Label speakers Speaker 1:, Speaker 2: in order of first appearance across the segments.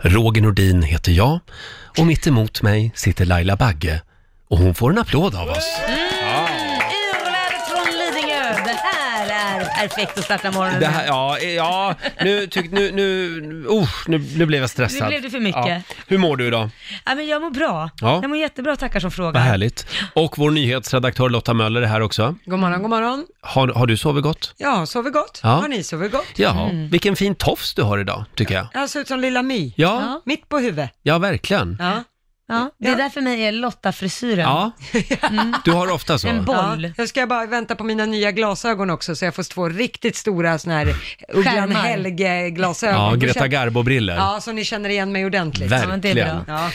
Speaker 1: Roger Nordin heter jag och mitt emot mig sitter Laila Bagge och hon får en applåd av oss.
Speaker 2: Urvärd från Lidingö. Det här är perfekt att starta morgonen
Speaker 1: Det
Speaker 2: med.
Speaker 1: här, ja, eh, ja, nu tyck, nu, nu, usch, nu, nu blev jag stressad.
Speaker 2: Nu blev det för mycket.
Speaker 1: Ja. Hur mår du idag?
Speaker 2: ja, men jag mår bra.
Speaker 1: Ja.
Speaker 2: Jag mår jättebra, tackar som
Speaker 1: Vad
Speaker 2: fråga.
Speaker 1: härligt. Och vår nyhetsredaktör Lotta Möller är här också.
Speaker 3: God morgon, god morgon.
Speaker 1: Har, har du sovit gott?
Speaker 3: Ja, sover gott?
Speaker 1: Ja.
Speaker 3: Har ni sovit gott?
Speaker 1: Ja,
Speaker 2: Mm.
Speaker 1: vilken fin tofs du har idag, tycker jag.
Speaker 3: Jag ser ut som Lilla My.
Speaker 1: Ja,
Speaker 3: Mitt på huvudet.
Speaker 1: ja verkligen.
Speaker 3: Ja.
Speaker 2: Ja, det där för mig är Lotta-frisyren.
Speaker 1: Ja, du har ofta
Speaker 2: En
Speaker 1: så.
Speaker 2: boll.
Speaker 3: Ja. Jag ska bara vänta på mina nya glasögon också, så jag får två riktigt stora sådana här Ugglan
Speaker 2: Skärmar.
Speaker 3: Helge-glasögon.
Speaker 1: Ja,
Speaker 3: Då
Speaker 1: Greta
Speaker 3: känner-
Speaker 1: Garbo-brillor.
Speaker 3: Ja, så ni känner igen mig ordentligt.
Speaker 2: liksom. Ja, men det är
Speaker 1: Verkligen.
Speaker 2: bra.
Speaker 3: Ja.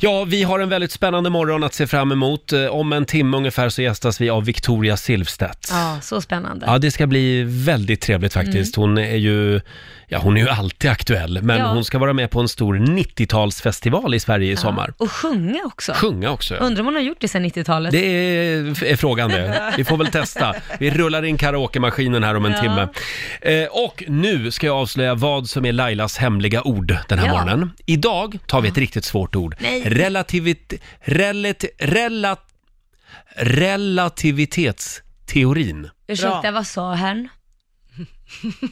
Speaker 1: Ja, vi har en väldigt spännande morgon att se fram emot. Eh, Om en timme ungefär så gästas vi av Victoria Silvstedt.
Speaker 2: Ja, så spännande.
Speaker 1: Ja, det ska bli väldigt trevligt faktiskt. Hon är ju, ja hon är ju alltid aktuell, men
Speaker 2: Mm. Ja.
Speaker 1: hon ska vara med på en stor 90-talsfestival i Sverige i sommar.
Speaker 2: Och sjunga också.
Speaker 1: Sjunga också. ja.
Speaker 2: Undrar om hon har gjort det sedan 90-talet.
Speaker 1: Det är, är frågan det. Vi får väl testa. Vi rullar in karaokemaskinen här om en
Speaker 2: Ja.
Speaker 1: timme. Eh, och nu ska jag avslöja vad som är Lailas hemliga ord den här
Speaker 2: Ja.
Speaker 1: morgonen. Idag tar vi ett riktigt svårt ord.
Speaker 2: Nej.
Speaker 1: Relativit, relat, relat, relativitetsteorin.
Speaker 2: Ursäkta,
Speaker 3: Bra.
Speaker 2: vad sa herrn?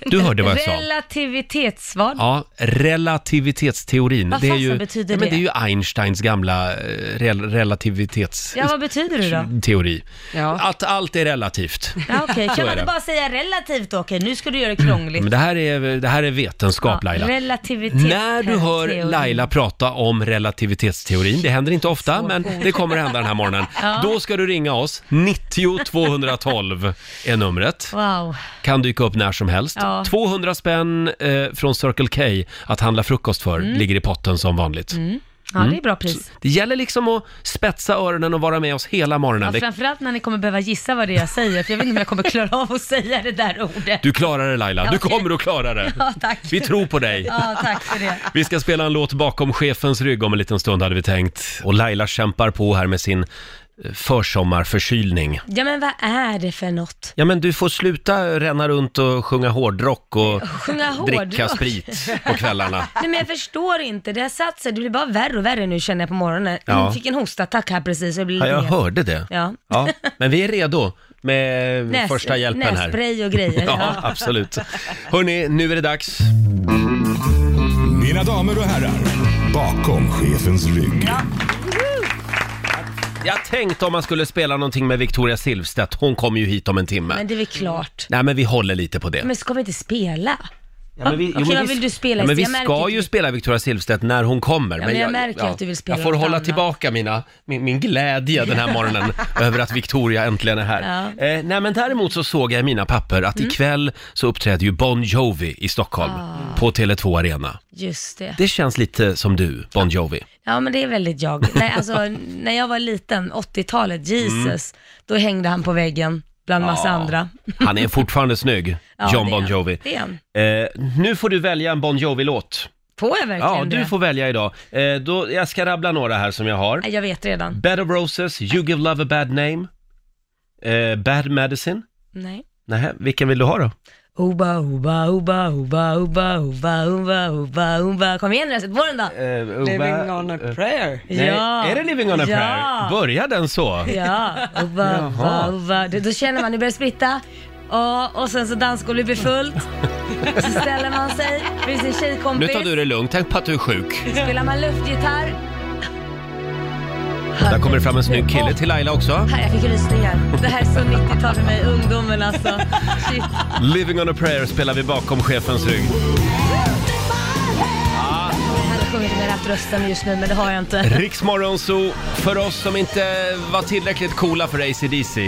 Speaker 1: Du hörde vad jag sa.
Speaker 2: Relativitetsvad?
Speaker 1: Ja, relativitetsteorin.
Speaker 2: Vad fasen betyder
Speaker 1: ja, men
Speaker 2: det?
Speaker 1: det är ju Einsteins gamla eh, rel- relativitetsteori.
Speaker 2: Ja, vad betyder det
Speaker 1: Mm.
Speaker 2: då?
Speaker 3: Ja.
Speaker 1: Att allt är relativt.
Speaker 2: Ja, okej.
Speaker 1: Så
Speaker 2: Kan
Speaker 1: är
Speaker 2: man inte
Speaker 1: det.
Speaker 2: bara säga relativt då? Okej, nu ska du göra det krångligt.
Speaker 1: Men det här är, det här är vetenskap Laila.
Speaker 2: Relativitet.
Speaker 1: När du hör Laila prata om relativitetsteorin, det händer inte ofta, men det kommer att hända den här morgonen.
Speaker 2: Ja.
Speaker 1: Då ska du ringa oss, 90 212 är numret.
Speaker 2: Wow.
Speaker 1: Kan dyka upp när som helst.
Speaker 2: Ja.
Speaker 1: 200 spänn eh, från Circle K att handla frukost för
Speaker 2: Mm.
Speaker 1: ligger i potten som vanligt.
Speaker 2: Ja, det är bra pris.
Speaker 1: Det gäller liksom att spetsa öronen och vara med oss hela morgonen.
Speaker 2: Ja,
Speaker 1: Det-
Speaker 2: framförallt när ni kommer behöva gissa vad det är jag säger, för jag vet inte om jag kommer klara av att säga det där ordet.
Speaker 1: Du klarar det Laila, du
Speaker 2: Ja, okej.
Speaker 1: kommer att klara det.
Speaker 2: Ja, tack.
Speaker 1: Vi tror på dig.
Speaker 2: Ja, tack för det.
Speaker 1: Vi ska spela en låt bakom chefens rygg om en liten stund hade vi tänkt. Och Laila kämpar på här med sin eh, försommarförkylning.
Speaker 2: Ja, men vad är det för något?
Speaker 1: Ja men du får sluta ränna runt och sjunga hårdrock och
Speaker 2: Sjunga hårdrock?
Speaker 1: dricka sprit på kvällarna.
Speaker 2: Nej, men jag förstår inte. Det har satt sig. Det blir bara värre och värre nu känner jag på morgonen.
Speaker 1: Ja.
Speaker 2: Jag fick en hostattack här precis. och Det blir
Speaker 1: Ja,
Speaker 2: lite
Speaker 1: jag
Speaker 2: mer-
Speaker 1: hörde det.
Speaker 2: Ja.
Speaker 1: Ja, men vi är redo med
Speaker 2: Näs-
Speaker 1: första hjälpen här.
Speaker 2: Nässpray och grejer.
Speaker 1: Ja,
Speaker 2: Ja.
Speaker 1: absolut. Hörni, nu är det dags.
Speaker 4: Mina damer och herrar, bakom chefens rygg.
Speaker 1: Jag tänkte om man skulle spela någonting med Victoria Silvstedt. Hon kommer ju hit om en timme.
Speaker 2: Men det är väl klart.
Speaker 1: Nej, men vi håller lite på det.
Speaker 2: Men ska vi inte spela?
Speaker 1: Ja, men vi,
Speaker 2: Okej, vad vill du spela
Speaker 1: ja, men Vi
Speaker 2: istället? Jag
Speaker 1: ska
Speaker 2: märker
Speaker 1: ju
Speaker 2: inte-
Speaker 1: spela Victoria Silvstedt när hon kommer.
Speaker 2: men jag märker att du vill spela
Speaker 1: Jag får
Speaker 2: något
Speaker 1: hålla
Speaker 2: annat.
Speaker 1: tillbaka mina, min, min glädje den här morgonen över att Victoria äntligen är här. Eh, nej, men däremot så såg jag i mina papper att
Speaker 2: Mm.
Speaker 1: ikväll så uppträder ju Bon Jovi i Stockholm
Speaker 2: Ah.
Speaker 1: på Tele2 Arena.
Speaker 2: Just det.
Speaker 1: Det känns lite som du, Bon Jovi.
Speaker 2: Ja, men det är väldigt jag. Nej, alltså, när jag var liten, 80-talet, Jesus,
Speaker 1: Mm.
Speaker 2: då hängde han på väggen bland massa andra.
Speaker 1: Han är fortfarande snygg,
Speaker 2: Ja,
Speaker 1: John
Speaker 2: det är
Speaker 1: Bon
Speaker 2: han.
Speaker 1: Jovi.
Speaker 2: Det är han.
Speaker 1: Eh, nu får du välja en Bon Jovi-låt.
Speaker 2: Får jag verkligen
Speaker 1: Ja, du
Speaker 2: det?
Speaker 1: får välja idag. Eh, då, jag ska rabbla några här som jag har.
Speaker 2: Nej, Jag vet redan.
Speaker 1: Bed of Roses, You Give Love a Bad Name, eh, Bad Medicine.
Speaker 2: Nej.
Speaker 1: Nej, vilken vill du ha då?
Speaker 2: Oba, oba, oba, oba, oba, oba, oba, oba, oba. Kom igen nu, jag har sett våren då.
Speaker 3: Living on a prayer.
Speaker 1: Eh, Nej,
Speaker 2: Ja.
Speaker 1: Är det Living on a
Speaker 2: Ja.
Speaker 1: prayer? Börjar den så?
Speaker 2: Ja, oba, oba, oba. Då, då känner man, nu börjar det spritta. Och, och sen så dansgolvet blir fullt. Så ställer man sig vid sin
Speaker 1: Nu
Speaker 2: tjejkompis.
Speaker 1: tar du det lugnt, tänk på att du är sjuk.
Speaker 2: Spelar man luftgitarr.
Speaker 1: Där kommer det fram en snygg kille
Speaker 2: Åh,
Speaker 1: till Laila också.
Speaker 2: Här, jag fick rysningar. Det här är så 90-tal för mig, ungdomen alltså. Shit.
Speaker 1: Living on a prayer spelar vi bakom chefens rygg.
Speaker 2: Jag hade sjungit med rapprösten just nu, men det har jag inte.
Speaker 1: Riksmorgon Zoo, för oss som inte var tillräckligt coola för ACDC.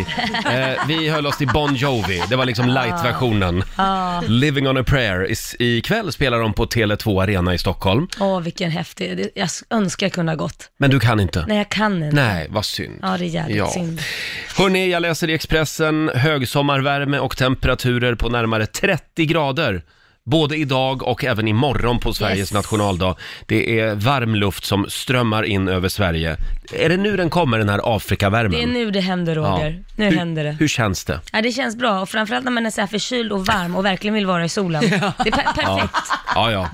Speaker 1: Eh, vi höll oss till Bon Jovi, det var liksom light-versionen.
Speaker 3: Ah.
Speaker 1: Living on a prayer, Is- ikväll spelar de på Tele2 Arena i Stockholm.
Speaker 2: Åh, vilken häftig. det- Jag önskar jag kunde ha gått.
Speaker 1: Men du kan inte?
Speaker 2: Nej, jag kan inte.
Speaker 1: Nej, vad synd.
Speaker 2: Ja, det är jävligt
Speaker 1: Ja.
Speaker 2: synd.
Speaker 1: Hörrni, jag läser i Expressen högsommarvärme och temperaturer på närmare 30 grader både idag och även imorgon på Sveriges
Speaker 2: Yes.
Speaker 1: nationaldag. Det är varm luft som strömmar in över Sverige. Är det nu den kommer, den här Afrikavärmen?
Speaker 2: Det är nu det händer Roger. Nu
Speaker 1: hur,
Speaker 2: händer det.
Speaker 1: Hur känns det?
Speaker 2: Ja, det känns bra och framförallt när man är så här förkyld och varm och verkligen vill vara i solen. Det är per-
Speaker 1: Ja,
Speaker 2: perfekt.
Speaker 1: ja. ja.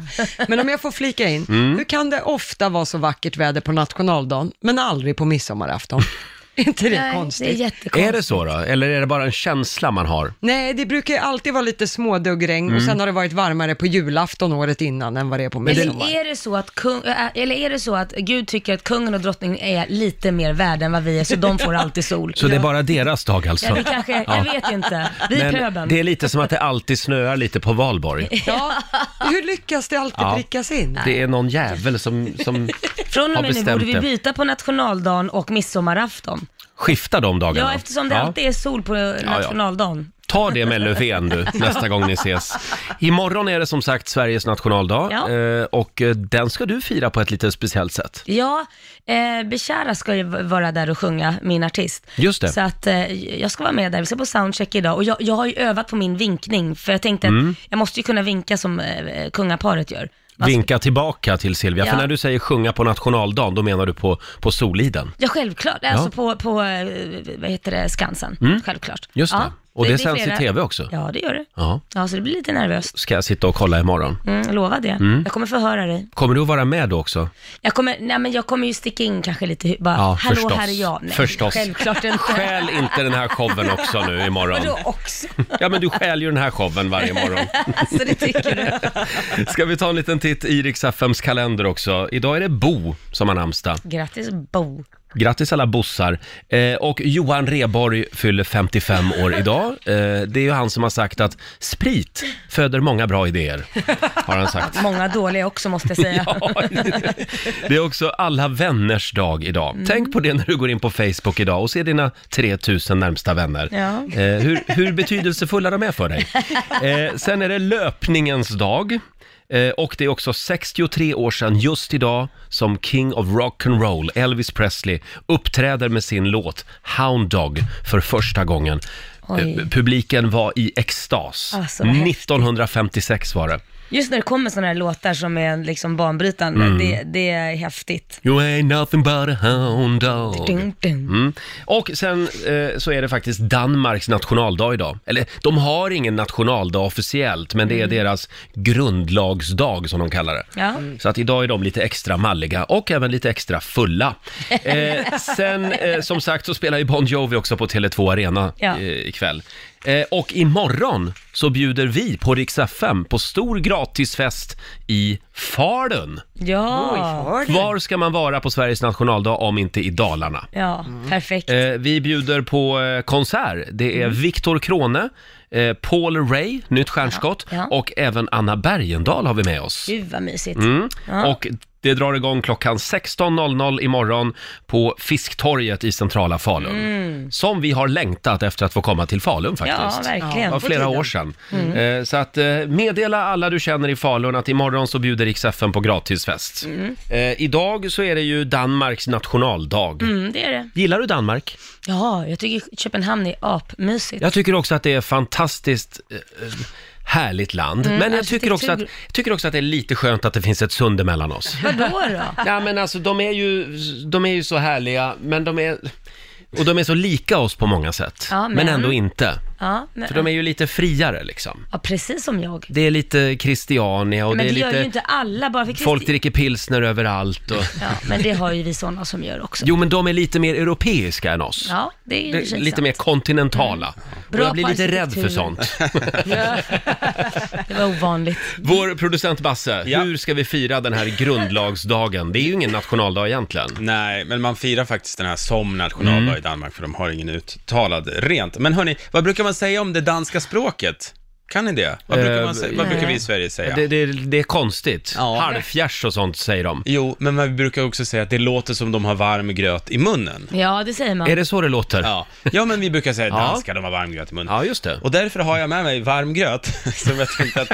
Speaker 3: Men om jag får flika in,
Speaker 1: Mm.
Speaker 3: hur kan det ofta vara så vackert väder på nationaldagen, men aldrig på midsommarafton? är inte det
Speaker 2: Nej,
Speaker 3: konstigt?
Speaker 2: det är jättekonstigt.
Speaker 1: Är det så då? Eller är det bara en känsla man har?
Speaker 3: Nej, det brukar ju alltid vara lite småduggregn och sen har det varit varmare på julafton året innan än vad Mm. det är på midsommar.
Speaker 2: Eller är, det så att kung, äh, eller är det så att Gud tycker att kungen och drottningen är lite mer värda än vad vi är, så de får alltid sol?
Speaker 1: Så det är bara deras dag alltså?
Speaker 2: Ja, det kanske, jag vet inte. Vi är pöbeln.
Speaker 1: Men det är lite som att det alltid snöar lite på valborg.
Speaker 3: Ja, hur lyckas det alltid
Speaker 1: Ja.
Speaker 3: prickas in?
Speaker 1: Det är någon jävel som, som
Speaker 2: Från och
Speaker 1: har
Speaker 2: med nu borde
Speaker 1: bestämt
Speaker 2: vi
Speaker 1: det.
Speaker 2: byta på nationaldagen och midsommarafton.
Speaker 1: Skiftar de dagarna.
Speaker 2: Ja, eftersom det
Speaker 1: Ja.
Speaker 2: alltid är sol på nationaldagen.
Speaker 1: Ta det med Löfven du, nästa gång ni ses. Imorgon är det som sagt Sveriges nationaldag
Speaker 2: Ja.
Speaker 1: eh, och eh, den ska du fira på ett lite speciellt sätt.
Speaker 2: Ja, eh, Bishara ska ju v- vara där och sjunga, min artist.
Speaker 1: Just det.
Speaker 2: Så att eh, jag ska vara med där, vi ska på soundcheck idag. Och jag, jag har ju övat på min vinkning, för jag tänkte
Speaker 1: Mm.
Speaker 2: att jag måste ju kunna vinka som eh, kungaparet gör. Alltså, Man-
Speaker 1: Vinka tillbaka till Silvia, för
Speaker 2: Ja.
Speaker 1: när du säger sjunga på nationaldagen, då menar du på, på Soliden.
Speaker 2: Ja, självklart. Alltså
Speaker 1: Ja. Mm.
Speaker 2: på, på eh, vad heter det, Skansen. Självklart.
Speaker 1: Just det.
Speaker 2: Ja,
Speaker 1: Och det
Speaker 2: blir
Speaker 1: sänds i
Speaker 2: flera-
Speaker 1: TV också.
Speaker 2: Ja, det gör det.
Speaker 1: Ja.
Speaker 2: Ja, så det blir lite nervöst.
Speaker 1: Ska jag sitta och kolla imorgon.
Speaker 2: Mm, lova det. Jag kommer förhöra dig.
Speaker 1: Kommer du att vara med då också?
Speaker 2: Jag kommer, nej men jag kommer ju sticka in kanske lite, hu- bara,
Speaker 1: Ja,
Speaker 2: hallå
Speaker 1: förstås.
Speaker 2: här är jag. Nej,
Speaker 1: Förstås.
Speaker 2: Självklart inte.
Speaker 1: Stjäl inte den här showen också nu imorgon.
Speaker 2: Vadå också?
Speaker 1: Ja, men du stjäl ju den här showen varje morgon.
Speaker 2: Alltså det tycker du?
Speaker 1: Ska vi ta en liten titt i Rix FMs kalender också? Idag är det Bo som har namnsdag.
Speaker 2: Grattis Bo.
Speaker 1: Grattis alla bossar. Eh, och Johan Rheborg fyller 55 år idag. Eh, det är ju han som har sagt att sprit föder många bra idéer, har han sagt.
Speaker 2: Många dåliga också måste jag säga.
Speaker 1: Ja, det är också alla vänners dag idag.
Speaker 2: Mm.
Speaker 1: Tänk på det när du går in på Facebook idag och ser dina 3000 närmsta vänner.
Speaker 2: Ja.
Speaker 1: Eh, hur, hur betydelsefulla de är för dig. Eh, sen är det löpningens dag. Eh, och det är också 63 år sedan just idag som King of Rock'n'Roll, Elvis Presley, uppträder med sin låt Hound Dog för första gången.
Speaker 2: Oj.
Speaker 1: Eh, Publiken var i extas.
Speaker 2: Alltså, vad häftigt.
Speaker 1: 1956 var det.
Speaker 2: Just när det kommer sådana här låtar som är liksom banbrytande,
Speaker 1: Mm.
Speaker 2: det, det är häftigt.
Speaker 1: You ain't nothing but a hound dog.
Speaker 2: Ding, ding.
Speaker 1: Mm. Och sen eh, så är det faktiskt Danmarks nationaldag idag. Eller de har ingen nationaldag officiellt, men det är deras grundlagsdag som de kallar det.
Speaker 2: Mm. Ja.
Speaker 1: Så att idag är de lite extra malliga och även lite extra fulla. Eh, sen eh, som sagt så spelar ju Bon Jovi också på Tele2 Arena
Speaker 2: Ja.
Speaker 1: eh, ikväll. Eh, och imorgon så bjuder vi på Rix FM på stor gratisfest i Falun.
Speaker 3: Oj,
Speaker 2: Ja,
Speaker 3: för det.
Speaker 1: Var ska man vara på Sveriges nationaldag om inte i Dalarna?
Speaker 2: ja perfekt.
Speaker 1: Eh, vi bjuder på eh, konsert. Det är Viktor Krone, eh, Paul Ray, nytt stjärnskott,
Speaker 2: Mm. Ja, ja.
Speaker 1: och även Anna Bergendahl har vi med oss.
Speaker 2: Gud vad mysigt.
Speaker 1: Mm. Och det drar igång klockan 16.00 imorgon på Fisktorget i centrala Falun. Som vi har längtat efter att få komma till Falun
Speaker 2: Mm. Ja,
Speaker 1: faktiskt. Det
Speaker 2: verkligen.
Speaker 1: var flera år sedan.
Speaker 2: Mm.
Speaker 1: Eh, Så att eh, meddela alla du känner i Falun att imorgon så bjuder Rix FM på gratisfest.
Speaker 2: Mm.
Speaker 1: Eh, Idag så är det ju Danmarks nationaldag.
Speaker 2: Mm, det är det.
Speaker 1: Gillar du Danmark?
Speaker 2: Ja, jag tycker Köpenhamn är apmysigt.
Speaker 1: Jag tycker också att det är ett fantastiskt eh, härligt land.
Speaker 2: Mm.
Speaker 1: men
Speaker 2: Alltså,
Speaker 1: jag tycker, också att,
Speaker 2: arkitektur.
Speaker 1: jag tycker också att det är lite skönt att det finns ett sund mellan oss.
Speaker 2: Vadå då?
Speaker 1: Ja men alltså de är ju, de är ju så härliga, men de är... Och de är så lika oss på många sätt,
Speaker 2: Ja,
Speaker 1: men...
Speaker 2: men-
Speaker 1: ändå inte.
Speaker 2: Ja, men,
Speaker 1: För de är ju lite friare liksom.
Speaker 2: ja, precis som jag.
Speaker 1: Det är lite Christiania och
Speaker 2: Men
Speaker 1: det är
Speaker 2: det, gör ju
Speaker 1: lite...
Speaker 2: inte alla, bara för Kristi...
Speaker 1: Folk dricker pilsner överallt och...
Speaker 2: Ja, men det har ju vi sådana som gör också.
Speaker 1: Jo men de är lite mer europeiska än oss.
Speaker 2: Ja, det är ju
Speaker 1: Det-
Speaker 2: i och för sig
Speaker 1: lite
Speaker 2: sant. Mm.
Speaker 1: mer kontinentala. Och
Speaker 2: Bra
Speaker 1: jag blir
Speaker 2: på
Speaker 1: lite rädd
Speaker 2: arkitektur.
Speaker 1: för sånt.
Speaker 2: Det var ovanligt.
Speaker 1: Vår producent Basse,
Speaker 5: Ja.
Speaker 1: hur ska vi fira den här grundlagsdagen? Det är ju ingen nationaldag egentligen.
Speaker 5: Nej, men man firar faktiskt den här som nationaldag
Speaker 1: Mm.
Speaker 5: i Danmark, för de har ingen uttalad rent. Men hörni, vad brukar man säga om det danska språket? Kan ni det? Vad brukar, man, sä- vad brukar vi i Sverige säga?
Speaker 1: Eh, Det, det, det är konstigt.
Speaker 5: Ja.
Speaker 1: Halvfjärs och sånt säger de.
Speaker 5: Jo, men man brukar också säga att det låter som de har varm gröt i munnen.
Speaker 2: Ja, det säger man.
Speaker 1: Är det så det låter?
Speaker 5: Ja, ja men vi brukar säga
Speaker 1: Ja.
Speaker 5: att danskar, de har varm gröt i munnen.
Speaker 1: Ja, just det.
Speaker 5: Och därför har jag med mig varm gröt, som jag tänkte att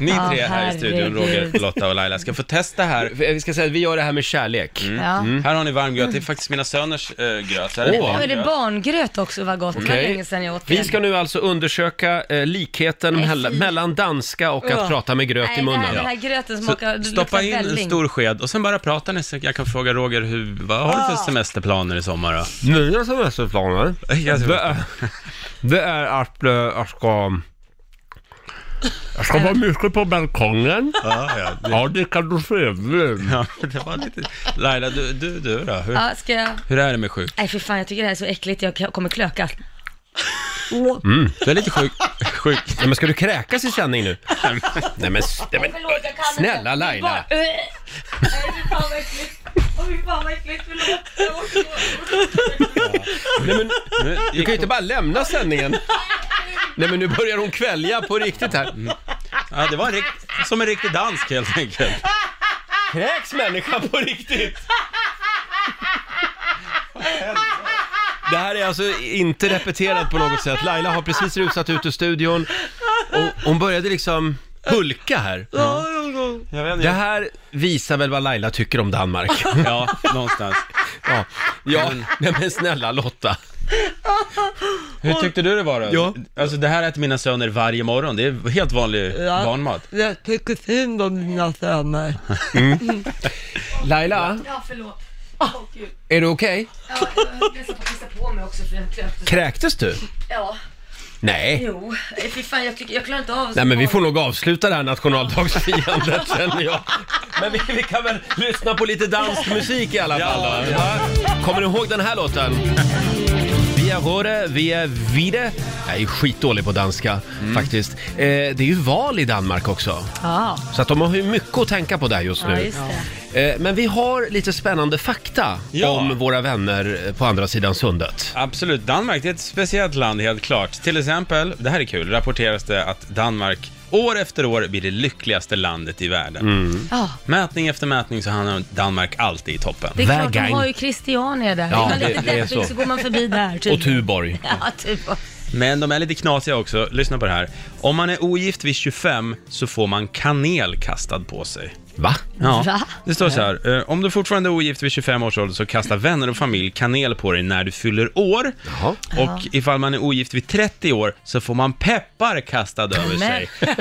Speaker 5: Ni
Speaker 2: Ja,
Speaker 5: tre här i studion,
Speaker 2: herregud.
Speaker 5: Roger, Lotta och Laila, ska få testa här.
Speaker 1: Vi ska säga att vi gör det här med kärlek.
Speaker 2: Ja.
Speaker 5: Här har ni varm gröt, det är faktiskt mina söners eh, gröt. Här
Speaker 1: Åh.
Speaker 2: Nu
Speaker 5: varm
Speaker 2: är det
Speaker 5: gröt.
Speaker 2: barngröt också, vad gott. Det var
Speaker 1: Okej.
Speaker 2: länge sedan jag åt det.
Speaker 1: Vi ska nu alltså undersöka eh, likheten mell- mellan danska och att prata med gröt
Speaker 2: Nej,
Speaker 1: i munnen.
Speaker 2: Den här, den här gröten smakar,
Speaker 5: Så
Speaker 2: det
Speaker 5: stoppa
Speaker 2: luktar
Speaker 5: in en
Speaker 2: välling.
Speaker 5: stor sked och sen bara prata ni, så jag kan fråga Roger, hur, vad har
Speaker 2: Ah.
Speaker 5: du för semesterplaner i sommar då?
Speaker 1: Mina semesterplaner,
Speaker 5: Jag tror-
Speaker 1: det är, det är att eh, jag ska... Jag ska vara mycket på balkongen.
Speaker 5: Ja, ja, det,
Speaker 1: Ja, det kan du se.
Speaker 5: ja, det var lite... Laila, du, du, du då? Hur,
Speaker 2: Ja, ska jag...
Speaker 5: hur är det med sjuk?
Speaker 2: Nej, för fan, jag tycker det här är så äckligt. Jag kommer klökas.
Speaker 1: Mm.
Speaker 5: Du är lite sjuk. sjuk.
Speaker 1: Nej, men ska du kräkas i sändning nu? Nej men, s- nej, men
Speaker 2: Förlåt, jag kan inte.
Speaker 1: snälla
Speaker 2: Det är bara-
Speaker 1: Laila!
Speaker 2: Nej, fy fan vad äckligt. Åh, fy fan vad äckligt. Förlåt. Jag måste gå.
Speaker 1: Nej, men,
Speaker 5: Nu
Speaker 1: du
Speaker 5: gick
Speaker 1: kan ju inte bara lämna sändningen. Nej men nu börjar hon kvälja på riktigt här.
Speaker 5: Ja, det var en rikt, som en riktig dansk helt enkelt.
Speaker 1: Kräks människan på riktigt? Det här är alltså inte repeterat på något sätt. Laila har precis rusat ut ur studion och hon började liksom hulka här.
Speaker 5: Jag vet
Speaker 1: Det här visar väl vad Laila tycker om Danmark.
Speaker 5: Ja, någonstans.
Speaker 1: Ja, ja nej men snälla Lotta.
Speaker 5: Hur tyckte du det var då?
Speaker 1: Ja.
Speaker 5: Alltså det här äter mina söner varje morgon, det är helt vanlig
Speaker 3: Ja.
Speaker 5: barnmat.
Speaker 3: Jag tycker synd om dina söner.
Speaker 1: Laila, Ah,
Speaker 2: Ja, förlåt. Åh, gud.
Speaker 1: är du okej?
Speaker 2: Ja, jag nästan på att pissa på mig också för jag klöktes.
Speaker 1: Kräktes du?
Speaker 2: Ja,
Speaker 1: Nej.
Speaker 2: jo. Nej, Fy fan, jag, tycker, jag klarar inte av
Speaker 1: Nej men vi får nog avsluta det här nationaldagsfirandet känner jag. Men vi, vi kan väl lyssna på lite dansk musik i alla fall då. Ja. Kommer ni ihåg den här låten? Via Rore, via Vide. Jag är skitdålig på danska faktiskt. Eh, det är ju val i Danmark också.
Speaker 2: Ja,
Speaker 1: Så att de har ju mycket att tänka på där just
Speaker 2: ja,
Speaker 1: nu.
Speaker 2: just det.
Speaker 1: Eh, men vi har lite spännande fakta
Speaker 5: Ja.
Speaker 1: om våra vänner eh, på andra sidan sundet.
Speaker 5: Absolut, Danmark det är ett speciellt land helt klart. Till exempel, det här är kul, rapporteras det att Danmark år efter år blir det lyckligaste landet i världen.
Speaker 2: Ja.
Speaker 5: Mätning efter mätning så hamnar Danmark alltid i toppen.
Speaker 2: Det är klart, de
Speaker 1: Vägang.
Speaker 2: har ju Christiania där.
Speaker 1: Ja,
Speaker 2: är man lite
Speaker 1: det- det är
Speaker 2: deppig
Speaker 1: så.
Speaker 2: så. går man förbi där. Typ.
Speaker 1: Och Tuborg.
Speaker 2: Ja, typ.
Speaker 5: Men de är lite knasiga också, lyssna på det här. Om man är ogift vid 25 så får man kanel kastad på sig.
Speaker 1: Va?
Speaker 5: Ja,
Speaker 2: Va?
Speaker 5: det står så här. eh, Om du fortfarande är ogift vid 25 års ålder så kastar vänner och familj kanel på dig när du fyller år.
Speaker 1: Jaha.
Speaker 5: Och ifall man är ogift vid 30 år så får man peppar kastad över sig.
Speaker 2: Nej.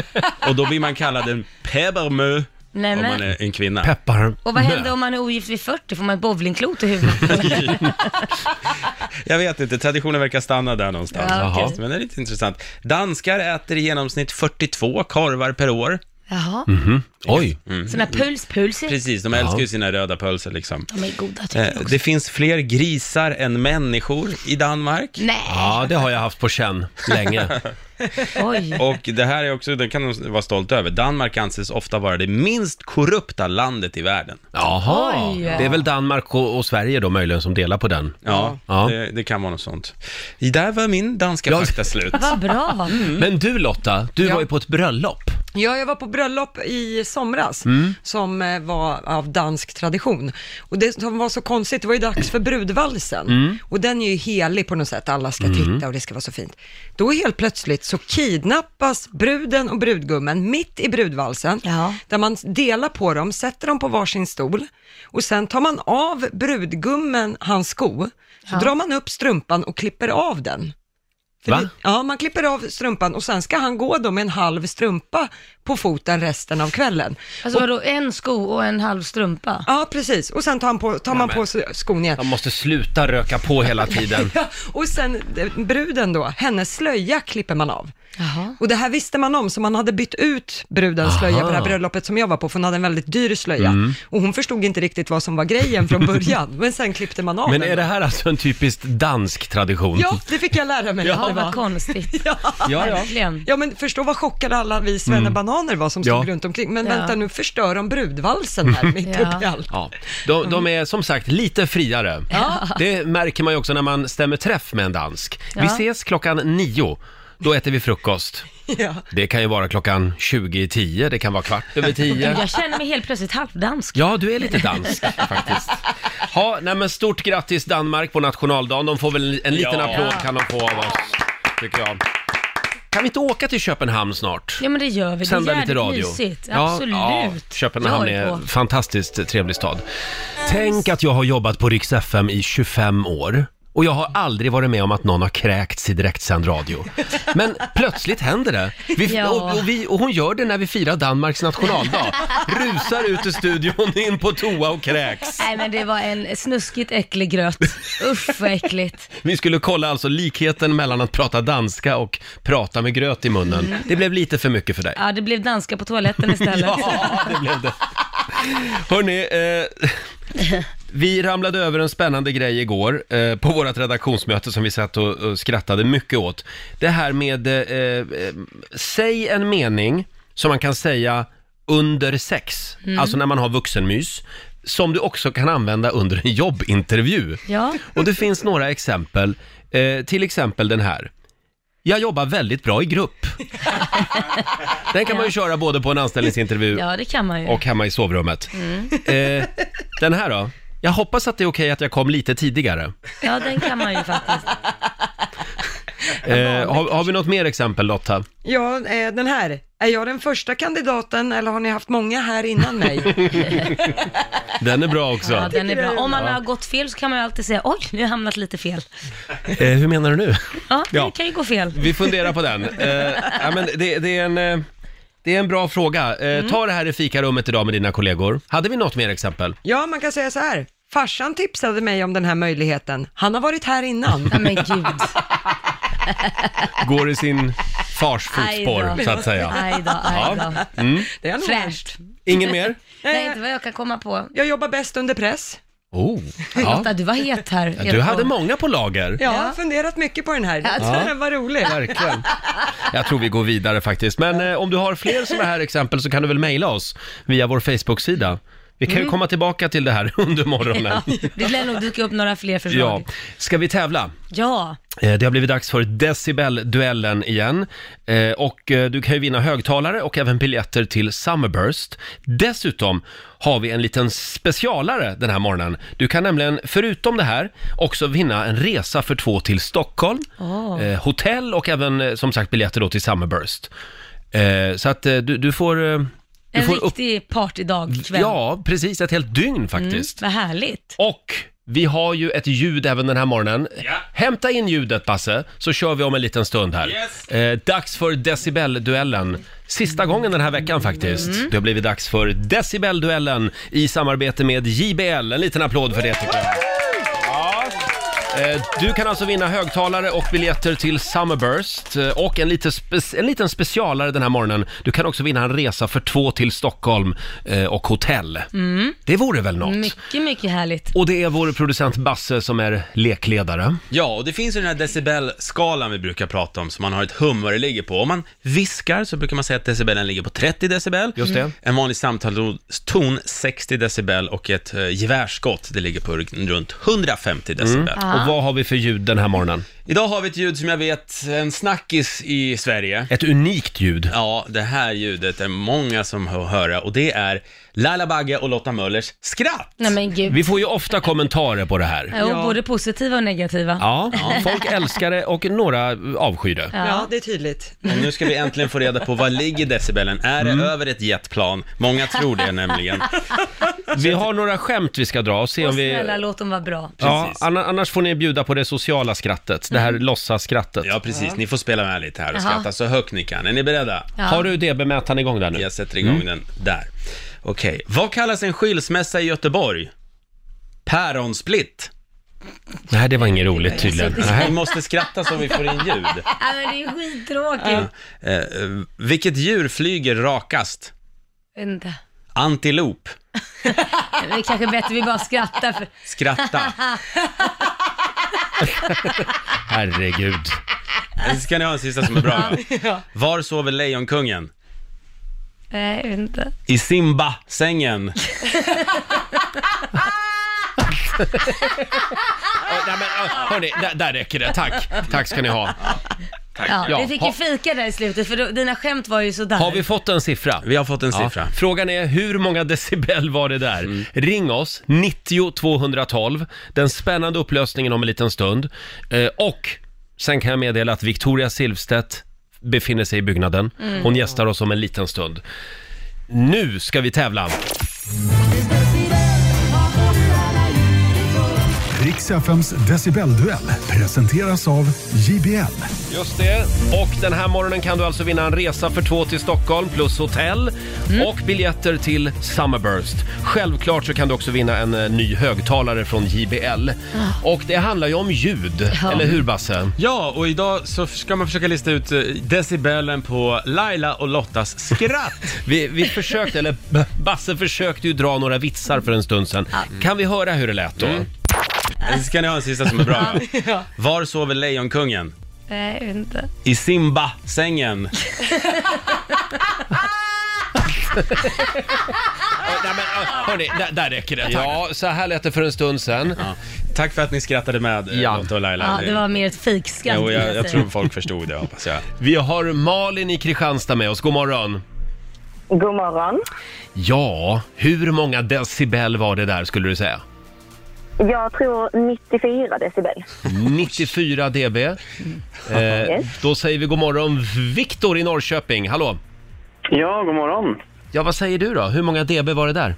Speaker 5: Och då blir man kallad en peppermö
Speaker 2: Nej,
Speaker 5: om
Speaker 2: men-
Speaker 5: man är en kvinna.
Speaker 1: Peppar.
Speaker 2: Och vad händer om man är ogift vid 40? Får man ett bowlingklot i huvudet?
Speaker 5: Jag vet inte, traditionen verkar stanna där någonstans.
Speaker 2: Ja, okej.
Speaker 5: Jaha. Men det är lite intressant. Danskar äter i genomsnitt 42 korvar per år.
Speaker 2: Jaha,
Speaker 1: Mhm. Oj.
Speaker 2: såna puls-pulser.
Speaker 5: Precis, de älskar ju sina röda pölser liksom.
Speaker 2: De är goda tycker
Speaker 5: Eh,
Speaker 2: jag också.
Speaker 5: Det finns fler grisar än människor i Danmark.
Speaker 2: Nej,
Speaker 1: Ja, det har jag haft på känn länge.
Speaker 2: oj.
Speaker 5: Och det här är också, den kan de vara stolta över. Danmark anses ofta vara det minst korrupta landet i världen.
Speaker 1: Jaha,
Speaker 2: Oj.
Speaker 1: det är väl Danmark och, och Sverige då möjligen som delar på den.
Speaker 5: Ja,
Speaker 1: Ja.
Speaker 5: Det, det kan vara något sånt. Där var min danska
Speaker 1: Ja.
Speaker 5: fakta slut.
Speaker 2: Vad bra.
Speaker 1: Men du Lotta, du
Speaker 3: Ja.
Speaker 1: var ju på ett bröllop.
Speaker 3: Ja, jag var på bröllop i somras som eh, var av dansk tradition. Och det som var så konstigt, det var ju dags för brudvalsen. Och den är ju helig på något sätt, alla ska titta och det ska vara så fint. Då helt plötsligt så kidnappas bruden och brudgummen mitt i brudvalsen,
Speaker 2: Ja.
Speaker 3: där man delar på dem, sätter dem på varsin stol och sen tar man av brudgummen hans sko, så drar man upp strumpan och klipper av den. För
Speaker 1: Va?
Speaker 3: det- Ja, man klipper av strumpan och sen ska han gå då med en halv strumpa på foten resten av kvällen.
Speaker 2: Alltså vadå, en sko och en halv strumpa?
Speaker 3: Ja, precis. Och sen tar, han på, tar man på sig skon igen.
Speaker 1: Man måste sluta röka på hela tiden.
Speaker 3: Ja, och sen eh, bruden då, hennes slöja klipper man av.
Speaker 2: Jaha.
Speaker 3: Och det här visste man om, så man hade bytt ut brudens slöja på det här bröllopet som jag var på, för hon hade en väldigt dyr slöja.
Speaker 1: Mm.
Speaker 3: Och hon förstod inte riktigt vad som var grejen från början, men sen klippte man av
Speaker 1: Men
Speaker 3: den.
Speaker 1: är det här alltså en typiskt dansk tradition?
Speaker 3: Ja, det fick jag lära mig
Speaker 2: Ja,
Speaker 3: att det
Speaker 2: vad
Speaker 3: var.
Speaker 2: konstigt.
Speaker 1: ja. ja.
Speaker 2: Verkligen.
Speaker 3: Ja men förstå vad chockade alla vi svennebananer var som stod
Speaker 1: Ja.
Speaker 3: runt omkring. Men
Speaker 2: Ja.
Speaker 3: vänta nu förstör de brudvalsen här mitt
Speaker 2: Ja.
Speaker 3: uppe i allt.
Speaker 1: Ja, de, de är som sagt lite friare. Det märker man ju också när man stämmer träff med en dansk. Vi
Speaker 2: Ja.
Speaker 1: ses klockan nio, då äter vi frukost.
Speaker 3: Ja.
Speaker 1: Det kan ju vara klockan 20 i tio, det kan vara kvart över tio.
Speaker 2: Jag känner mig helt plötsligt halvdansk.
Speaker 1: Ja, du är lite dansk faktiskt. Ha, nej men stort grattis Danmark på nationaldagen. De får väl en liten
Speaker 5: Ja.
Speaker 1: applåd kan de få av oss, tycker jag. Kan vi inte åka till Köpenhamn snart?
Speaker 2: Ja men det gör vi.
Speaker 1: Sända
Speaker 2: det är
Speaker 1: lite
Speaker 2: jävligt
Speaker 1: radio.
Speaker 2: mysigt.
Speaker 1: Ja,
Speaker 2: Absolut.
Speaker 1: ja, Köpenhamn
Speaker 2: Jag
Speaker 1: är
Speaker 2: på.
Speaker 1: en fantastiskt trevlig stad. Tänk att jag har jobbat på Rix FM i 25 år. Och jag har aldrig varit med om att någon har kräkts i direktsänd radio. Men plötsligt händer det. Vi,
Speaker 2: Ja.
Speaker 1: och, och, vi, och hon gör det när vi firar Danmarks nationaldag. Rusar ut ur studion, in på toa och kräks.
Speaker 2: Nej men det var en snuskigt äcklig gröt. Usch vad äckligt.
Speaker 1: Vi skulle kolla alltså likheten mellan att prata danska och prata med gröt i munnen. Det blev lite för mycket för dig.
Speaker 2: Ja det blev danska på toaletten istället.
Speaker 1: Ja, det blev det. Hörni, eh, vi ramlade över en spännande grej igår eh, på vårt redaktionsmöte som vi satt och, och skrattade mycket åt. Det här med, eh, eh, säg en mening som man kan säga under sex, alltså när man har vuxenmys, som du också kan använda under en jobbintervju.
Speaker 2: Ja.
Speaker 1: Och det finns några exempel, eh, till exempel den här. Jag jobbar väldigt bra i grupp. Den kan man ju köra både på en anställningsintervju
Speaker 2: ja Mm. det kan man ju.
Speaker 1: och hemma i sovrummet. Eh, den här då? Jag hoppas att det är okej att jag kom lite tidigare.
Speaker 2: Ja den kan man ju faktiskt.
Speaker 1: Eh, har, har vi något mer exempel Lotta?
Speaker 3: Ja, eh, den här. Är jag den första kandidaten eller har ni haft många här innan mig?
Speaker 1: Den är bra också.
Speaker 2: Ja, den är bra. Om man har gått fel så kan man ju alltid säga oj, nu har jag hamnat lite fel.
Speaker 1: Eh, hur menar du nu?
Speaker 2: Ja,
Speaker 1: Ja.
Speaker 2: det kan ju gå fel.
Speaker 1: Vi funderar på den. Eh, ja, men det, det, är en, eh, det är en bra fråga. Eh,
Speaker 2: Mm.
Speaker 1: Ta det här i fikarummet idag med dina kollegor. Hade vi något mer exempel?
Speaker 3: Ja, man kan säga så här. Farsan tipsade mig om den här möjligheten. Han har varit här innan.
Speaker 2: Nej men gud.
Speaker 1: Går i sin fars
Speaker 2: Aj då.
Speaker 1: fotspår, så att säga. Mm.
Speaker 2: Aj då, aj då.
Speaker 3: Det är nog-
Speaker 2: Fräscht.
Speaker 1: Ingen mer?
Speaker 2: Nej, inte vad jag kan komma på.
Speaker 3: Jag jobbar bäst under press.
Speaker 1: Oh, ja.
Speaker 2: Lotta, du var het här.
Speaker 1: Du hade många på lager.
Speaker 3: Ja, jag har funderat mycket på den här. Jag tror den var rolig.
Speaker 1: Verkligen. Jag tror vi går vidare faktiskt. Men eh, om du har fler sådana här exempel så kan du väl mejla oss via vår Facebook-sida. Vi kan
Speaker 2: Mm.
Speaker 1: ju komma tillbaka till det här under morgonen. Ja.
Speaker 2: Det lär nog dyka upp några fler förslag. Ja.
Speaker 1: Ska vi tävla? Eh, Det har blivit dags för Decibel-duellen igen. Eh, Och eh, du kan ju vinna högtalare och även biljetter till Summerburst. Dessutom har vi en liten specialare den här morgonen. Du kan nämligen, förutom det här, också vinna en resa för två till Stockholm,
Speaker 2: Åh.
Speaker 1: eh, hotell och även eh, som sagt biljetter då till Summerburst. Eh, Så att eh, du, du får... eh, Du
Speaker 2: En
Speaker 1: får
Speaker 2: riktig partydag kväll.
Speaker 1: Ja, precis. Ett helt dygn faktiskt.
Speaker 2: Vad härligt.
Speaker 1: Och vi har ju ett ljud även den här morgonen.
Speaker 5: Ja.
Speaker 1: Hämta in ljudet Basse, så kör vi om en liten stund här.
Speaker 5: Yes.
Speaker 1: Eh, dags för decibelduellen. Sista gången den här veckan faktiskt. Det har blivit dags för decibelduellen i samarbete med JBL. En liten applåd för det tycker jag. Eh, Du kan alltså vinna högtalare och biljetter till Summerburst eh, och en, lite spe- en liten specialare den här morgonen. Du kan också vinna en resa för två till Stockholm eh, och hotell. Det vore väl något?
Speaker 2: Mycket, mycket härligt.
Speaker 1: Och det är vår producent Basse som är lekledare.
Speaker 5: Ja, och det finns ju den här decibelskalan vi brukar prata om, som man har ett hum vad det ligger på. Om man viskar så brukar man säga att decibelen ligger på 30 decibel.
Speaker 1: Just det.
Speaker 5: En vanlig samtalston 60 decibel och ett eh, gevärsskott, det ligger på runt 150
Speaker 1: Mm.
Speaker 5: decibel.
Speaker 1: Och vad har vi för ljud den här morgonen?
Speaker 5: Idag har vi ett ljud som jag vet, en snackis i Sverige.
Speaker 1: Ett unikt ljud.
Speaker 5: Ja, det här ljudet är många som hör höra och det är Laila Bagge och Lotta Möllers skratt.
Speaker 2: Nej men gud.
Speaker 1: Vi får ju ofta kommentarer på det här.
Speaker 2: Och både positiva och negativa.
Speaker 1: Ja, folk älskar det och några avskyr det.
Speaker 3: Ja, det är tydligt.
Speaker 5: Men nu ska vi äntligen få reda på vad ligger decibelen? Är
Speaker 2: Mm.
Speaker 5: det över ett jetplan? Många tror det nämligen.
Speaker 1: Vi har några skämt vi ska dra och se
Speaker 2: Och
Speaker 1: om vi...
Speaker 2: snälla, låt dem vara bra.
Speaker 1: Ja,
Speaker 5: Precis.
Speaker 1: anna- annars får ni bjuda på det sociala skrattet, det här låtsaskrattet.
Speaker 5: Ja, precis. Ni får spela med lite här och
Speaker 2: Jaha.
Speaker 5: skratta så högt ni kan. Är ni beredda?
Speaker 2: Ja. Mm.
Speaker 1: Har du DB-mätaren igång där nu?
Speaker 5: Jag sätter igång den där. Okej. Vad kallas en skilsmässa i Göteborg? Päronsplitt.
Speaker 1: Nej, det var inget roligt tydligen.
Speaker 5: Vi måste skratta så vi får in ljud.
Speaker 2: Nej men det är skittråkigt.
Speaker 5: Eh, eh, vilket djur flyger rakast?
Speaker 2: Vänta.
Speaker 5: Antilop.
Speaker 2: Det är kanske bättre vi bara skrattar för...
Speaker 5: Skratta.
Speaker 1: Herregud.
Speaker 5: Sen Eh, ska ni ha en sista som är bra. då. Var sover Lejonkungen?
Speaker 2: Nej, jag vet inte.
Speaker 5: I Simba-sängen.
Speaker 1: Nej, men, hörni, där, där räcker det. Tack. Tack ska ni ha.
Speaker 2: Ja,
Speaker 1: Ja,
Speaker 2: vi fick
Speaker 1: ha-
Speaker 2: ju fika där i slutet för då, dina skämt var ju sådär.
Speaker 1: Har vi fått en siffra?
Speaker 5: Vi har fått en
Speaker 1: Ja.
Speaker 5: siffra.
Speaker 1: Frågan är hur många decibel var det där? Ring oss, 90 212. Den spännande upplösningen om en liten stund. Eh, och sen kan jag meddela att Victoria Silvstedt befinner sig i byggnaden. Hon gästar oss om en liten stund. Nu ska vi tävla!
Speaker 4: Riks FMs decibelduell presenteras av JBL.
Speaker 1: Just det. Och den här morgonen kan du alltså vinna en resa för två till Stockholm plus hotell och biljetter till Summerburst. Självklart så kan du också vinna en eh, ny högtalare från JBL. Och det handlar ju om ljud,
Speaker 2: Ja.
Speaker 1: eller hur Basse?
Speaker 5: Ja, och idag så ska man försöka lista ut eh, decibelen på Laila och Lottas skratt.
Speaker 1: Vi, vi försökte, eller B- Basse försökte ju dra några vitsar för en stund sedan. Kan vi höra hur det lät då?
Speaker 5: Ska ni ha en sista som är bra? va? Var sover Lejonkungen?
Speaker 2: Nej, jag vet inte.
Speaker 5: I Simba-sängen.
Speaker 1: Nej, men, äh, hörni, där, där räcker det. Ja, så här lät det för en stund sedan.
Speaker 5: Ja. Tack för att ni skrattade med, eh,
Speaker 1: Ja.
Speaker 5: Lotta och Laila.
Speaker 2: Ja, det var mer ett fikskratt.
Speaker 5: Jo,
Speaker 2: vill
Speaker 5: jag, jag
Speaker 2: säga.
Speaker 5: tror folk förstod det, hoppas jag.
Speaker 1: Vi har Malin i Kristianstad med oss. God morgon!
Speaker 6: God morgon.
Speaker 1: Ja, hur många decibel var det där skulle du säga?
Speaker 6: Jag tror 94 decibel.
Speaker 1: 94 dB. Eh, då säger vi god morgon Viktor i Norrköping. Hallå!
Speaker 7: Ja, god morgon.
Speaker 1: Ja, vad säger du då? Hur många dB var det där?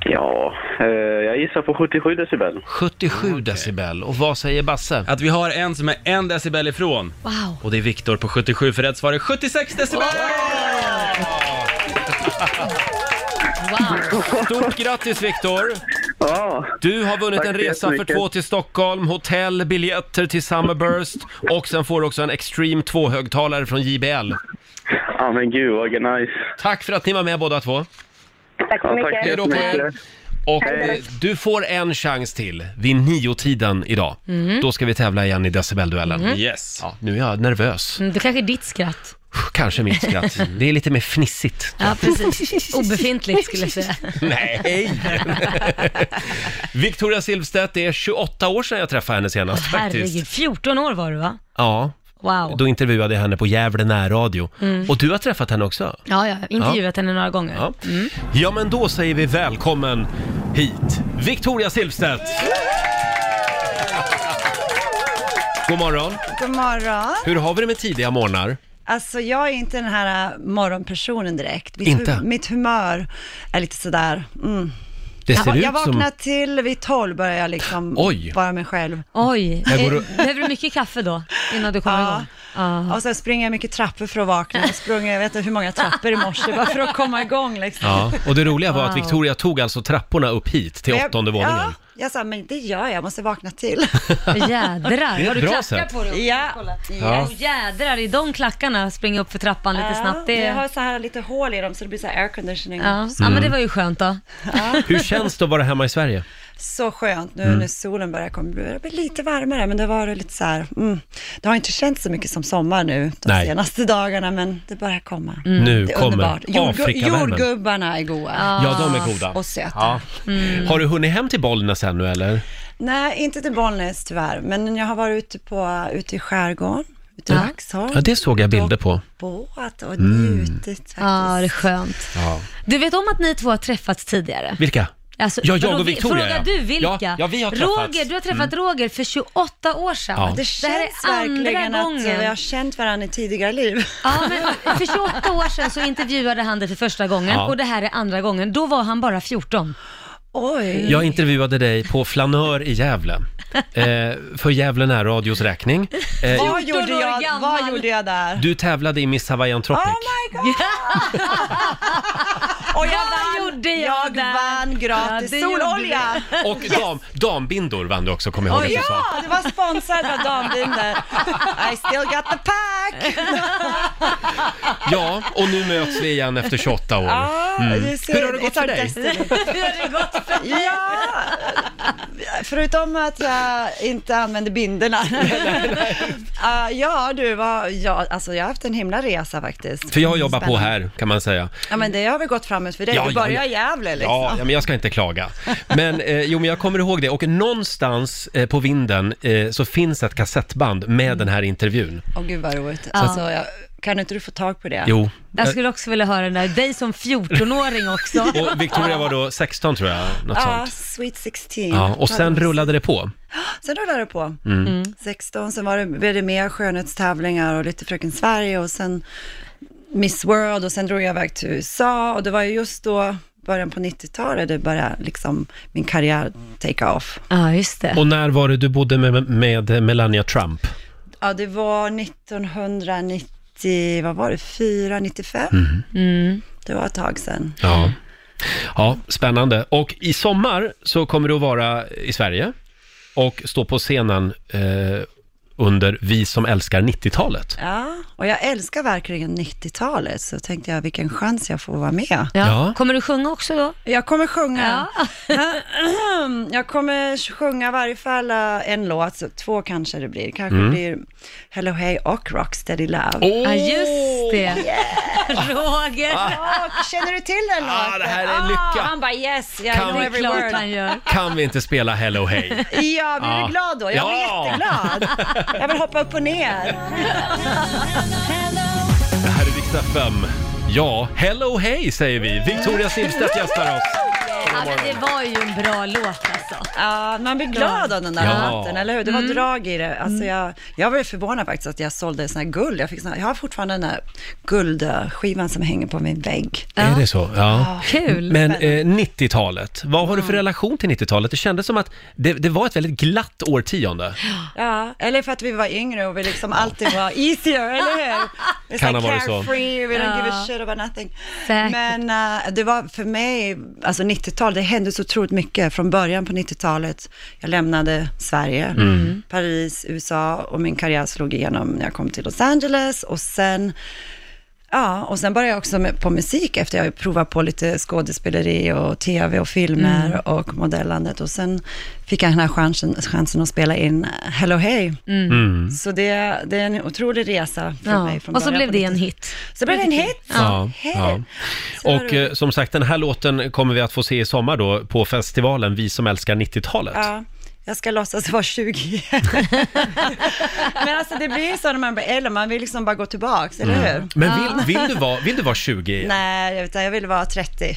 Speaker 7: Ja, eh, jag gissar på 77 decibel.
Speaker 1: 77 decibel. Och vad säger Basse?
Speaker 5: Att vi har en som är en decibel ifrån.
Speaker 2: Wow.
Speaker 5: Och det är Viktor på 77 för rätt svar är 76 decibel!
Speaker 2: wow.
Speaker 1: Stort grattis Viktor!
Speaker 7: Ja,
Speaker 1: Du har vunnit
Speaker 7: Tack
Speaker 1: en
Speaker 7: så
Speaker 1: resa för
Speaker 7: jättemycket.
Speaker 1: två till Stockholm, hotell, biljetter till Summerburst och sen får du också en Extreme 2-högtalare från JBL.
Speaker 7: ja men gud vad nice.
Speaker 1: Tack för att ni var med båda två.
Speaker 6: Tack så
Speaker 7: Ja, tack
Speaker 6: mycket.
Speaker 7: så
Speaker 1: då på er.
Speaker 7: jättemycket.
Speaker 1: Och
Speaker 6: Hej.
Speaker 1: eh, du får en chans till vid niotiden idag. Då ska vi tävla igen i decibelduellen.
Speaker 5: Mhm. Yes.
Speaker 1: Ja, nu är jag nervös.
Speaker 2: Mm, Det kanske är ditt skratt.
Speaker 1: Kanske mitt skratt. Det är lite mer fnissigt.
Speaker 2: Ja, precis. Obefintligt skulle jag säga.
Speaker 1: Nej! Victoria Silvstedt, det är 28 år sedan jag träffade henne senast
Speaker 2: Herregud,
Speaker 1: faktiskt.
Speaker 2: 14 år var du va?
Speaker 1: Ja,
Speaker 2: Wow.
Speaker 1: då intervjuade jag henne på Gävle närradio. Och du har träffat henne också?
Speaker 2: Ja, ja, intervjuat henne några gånger. Mm.
Speaker 1: Ja. ja, men då säger vi välkommen hit, Victoria Silvstedt! God morgon!
Speaker 8: God morgon.
Speaker 1: Hur har vi det med tidiga morgnar?
Speaker 8: Alltså jag är inte den här äh, morgonpersonen direkt. Mitt,
Speaker 1: Inte?
Speaker 8: hu- mitt humör är lite sådär. Mm.
Speaker 1: Det ser
Speaker 8: Jag,
Speaker 1: ut
Speaker 8: jag
Speaker 1: som...
Speaker 8: vaknar till vid tolv börjar jag liksom
Speaker 1: Oj.
Speaker 8: vara mig själv.
Speaker 2: Oj,
Speaker 1: Jag går
Speaker 2: eh,
Speaker 1: och-
Speaker 2: behöver du mycket kaffe då innan du kommer
Speaker 8: Ja.
Speaker 2: igång? Ja.
Speaker 8: Och sen springer jag mycket trappor för att vakna. Jag sprung, jag vet inte hur många trappor i morse bara för att komma igång liksom.
Speaker 1: Ja, och det roliga var att
Speaker 2: Wow.
Speaker 1: Victoria tog alltså trapporna upp hit till
Speaker 8: Jag-
Speaker 1: åttonde våningen.
Speaker 8: Ja, jag sa, men det gör jag, jag måste vakna till.
Speaker 2: Jädrar,
Speaker 1: Det är
Speaker 2: har du
Speaker 1: bra
Speaker 2: klackar
Speaker 1: sätt.
Speaker 2: på dig? också?
Speaker 8: Ja.
Speaker 2: Kolla.
Speaker 1: Ja.
Speaker 2: Oh, jädrar, i de klackarna springa upp för trappan lite snabbt. Det...
Speaker 8: Jag har
Speaker 2: Ja.
Speaker 8: så här lite hål i dem så det blir så här airconditioning.
Speaker 2: Ja.
Speaker 1: Mm.
Speaker 2: men det var ju skönt då.
Speaker 1: Hur känns det att vara hemma i Sverige?
Speaker 8: Så skönt
Speaker 1: Mm.
Speaker 8: nu när solen börjar komma. Det blir lite varmare, men det var det lite så här. Mm, det har inte känts så mycket som sommar nu de
Speaker 1: Nej.
Speaker 8: senaste dagarna, men det börjar komma.
Speaker 2: Mm.
Speaker 1: Nu
Speaker 8: Det är
Speaker 1: kommer
Speaker 8: underbart. Jordgu-
Speaker 1: Afrikavärmen.
Speaker 8: jordgubbarna är goda.
Speaker 1: Ja, de är goda.
Speaker 8: Och söta. Mm.
Speaker 1: Ja. Har du hunnit hem till Bollnäs ännu eller?
Speaker 8: Nej, inte till Bollnäs tyvärr, men jag har varit ute, på, ute i skärgården, ute i
Speaker 2: Ja.
Speaker 8: Vaxholm.
Speaker 1: Ja, det såg jag bilder på. Mm.
Speaker 8: Båt och njutit faktiskt.
Speaker 2: Ja, det är skönt. Du vet om att ni två har träffats tidigare?
Speaker 1: Vilka?
Speaker 8: Mm.
Speaker 2: Alltså,
Speaker 1: Ja, jag
Speaker 2: vadå,
Speaker 1: och
Speaker 2: vi-
Speaker 1: Victoria, ja.
Speaker 2: Frågar du vilka?
Speaker 1: Ja, ja, vi har träffats. Mm.
Speaker 2: Roger, du har träffat Roger för 28 år sedan.
Speaker 1: Ja.
Speaker 8: Det
Speaker 2: här är
Speaker 8: känns
Speaker 2: andra
Speaker 8: verkligen att eh,
Speaker 2: gången.
Speaker 8: vi har känt varandra i tidigare liv.
Speaker 2: Ja, men för 28 år sedan så intervjuade han dig för första gången
Speaker 1: Ja.
Speaker 2: och det här är andra gången. Då var han bara 14.
Speaker 8: Oj.
Speaker 1: Jag intervjuade dig på Flanör i Gävle. Eh, för Gävle närradios räkning. Eh,
Speaker 8: Vad
Speaker 2: 14 Mm. år
Speaker 8: gjorde, jag, vad
Speaker 2: gammal.
Speaker 8: gjorde jag där?
Speaker 1: du tävlade i Miss Hawaiian Tropic.
Speaker 8: Oh my god! och jag
Speaker 2: Vad
Speaker 8: vann,
Speaker 2: gjorde jag där?
Speaker 8: vann gratis
Speaker 2: Ja, det gjorde
Speaker 8: sololja!
Speaker 1: Och dam, dambindor vann du också, kommer jag ihåg att du sa.
Speaker 8: Ja, det var sponsrad av Dambinder. I still got the pack!
Speaker 1: Ja, och nu möts vi igen efter 28 år.
Speaker 8: Ja, you see,
Speaker 1: Mm. Hur har det gått
Speaker 8: it's our
Speaker 1: för dig?
Speaker 8: destiny.
Speaker 2: Hur har det gått för
Speaker 8: Ja, förutom att jag inte använder binderna. Ah, ja, du, var, ja, alltså jag har haft en himla resa faktiskt.
Speaker 1: För jag jobbar på
Speaker 8: Spännande.
Speaker 1: här, kan man säga.
Speaker 8: Ja, men det har väl gått framåt för dig.
Speaker 1: Ja,
Speaker 8: du
Speaker 1: ja,
Speaker 8: börjar
Speaker 1: ja.
Speaker 8: i Gävle liksom.
Speaker 1: Ja, ja, men jag ska inte klaga. Men eh, jo, men jag kommer ihåg det. Och någonstans eh, på vinden eh, så finns ett kassettband med den här intervjun.
Speaker 8: Åh gud vad roligt. Alltså, jag Kan inte du få tag på det?
Speaker 1: Jo.
Speaker 2: Jag skulle också vilja höra den där, dig som 14-åring också.
Speaker 1: Och Victoria var då 16 tror jag, något
Speaker 8: Ja,
Speaker 1: sånt.
Speaker 8: Ah, Sweet 16.
Speaker 1: Ja, och sen Mm.
Speaker 8: rullade
Speaker 1: rullade det på.
Speaker 8: Sen rullade det på. 16, sen var det, blev det mer skönhetstävlingar och lite Fröken Sverige och sen Miss World och sen drog jag iväg till USA och det var ju just då början på 90-talet det började liksom min karriär take off.
Speaker 2: Ja, just det.
Speaker 1: Och när var det du bodde med, med Melania Trump?
Speaker 8: Ja, det var 1990, vad var det, 4, 95?
Speaker 1: Mm.
Speaker 8: Det var ett tag sedan.
Speaker 1: Ja. Ja, spännande. Och i sommar så kommer du att vara i Sverige och stå på scenen eh, under Vi som älskar 90-talet.
Speaker 8: Ja, och jag älskar verkligen 90-talet så tänkte jag vilken chans jag får vara med.
Speaker 2: Ja.
Speaker 1: Ja.
Speaker 2: Kommer du sjunga också då?
Speaker 8: Jag kommer sjunga. jag kommer sjunga i varje fall eh, en låt, så två kanske det blir. Kanske blir Hello Hey och Rocksteady Love.
Speaker 1: Mm. Åh!
Speaker 2: Ja, just det. Roger.
Speaker 8: Åh, känner du till den
Speaker 1: Ah, det
Speaker 8: låten?
Speaker 1: här är lycka!
Speaker 8: Han bara yes, jag
Speaker 1: Kan vi-
Speaker 8: know
Speaker 2: Det är
Speaker 8: every
Speaker 2: klart han
Speaker 8: word.
Speaker 2: gör.
Speaker 1: Kan vi inte spela Hello Hey?
Speaker 8: Ja, blir
Speaker 1: Ja.
Speaker 8: du glad då? Jag blir
Speaker 1: Ja.
Speaker 8: jätteglad. Jag vill hoppa upp och ner.
Speaker 1: Det här är Riksdag 5. Ja, Hello Hey säger vi. Victoria Silvstedt gästar oss.
Speaker 2: Ja, men det var ju en bra låt alltså.
Speaker 8: Ja, man blir glad av den där
Speaker 1: Ja.
Speaker 8: låten, eller hur? Det var drag i det. Alltså jag, jag var ju förvånad faktiskt att jag sålde sån här guld. Jag, fick sån här, jag har fortfarande den här guldskivan som hänger på min vägg.
Speaker 1: Är det så? Ja.
Speaker 2: Kul.
Speaker 1: Men eh, 90-talet, vad har du för relation till 90-talet? Det kändes som att det, det var ett väldigt glatt årtionde.
Speaker 8: Ja, eller för att vi var yngre och vi liksom alltid var easier, eller hur? Vi är
Speaker 1: Kan ha
Speaker 8: så här
Speaker 1: varit så.
Speaker 8: Carefree, we don't
Speaker 2: Ja.
Speaker 8: give a shit about nothing.
Speaker 2: Säkert.
Speaker 8: Men eh, det var för mig, alltså 90-talet, det hände så otroligt mycket från början på 90-talet. Jag lämnade Sverige,
Speaker 2: Mm.
Speaker 8: Paris, USA och min karriär slog igenom när jag kom till Los Angeles och sen Ja, och sen började jag också med, på musik efter jag provat på lite skådespeleri och tv och filmer
Speaker 2: Mm.
Speaker 8: och modellandet. Och sen fick jag den här chansen, chansen att spela in eh, Hello Hey. Så det, det är en otrolig resa för
Speaker 2: Mm. Ja.
Speaker 8: mig. Från
Speaker 2: Och så
Speaker 8: början
Speaker 2: blev
Speaker 8: på
Speaker 2: det en
Speaker 8: 90-talet.
Speaker 2: hit.
Speaker 8: Så blev det en hit.
Speaker 1: Ja,
Speaker 8: Hej.
Speaker 1: ja.
Speaker 8: Så var
Speaker 1: Och
Speaker 8: det-
Speaker 1: eh, som sagt, den här låten kommer vi att få se i sommar då på festivalen Vi som älskar 90-talet.
Speaker 8: Ja, jag ska låtsas vara 20 igen. Men alltså det blir ju så när man blir äldre, man vill liksom bara gå tillbaks, eller hur?
Speaker 1: Men vill, vill, du vara, vill du vara 20 igen?
Speaker 8: Nej, utan jag vill vara 30.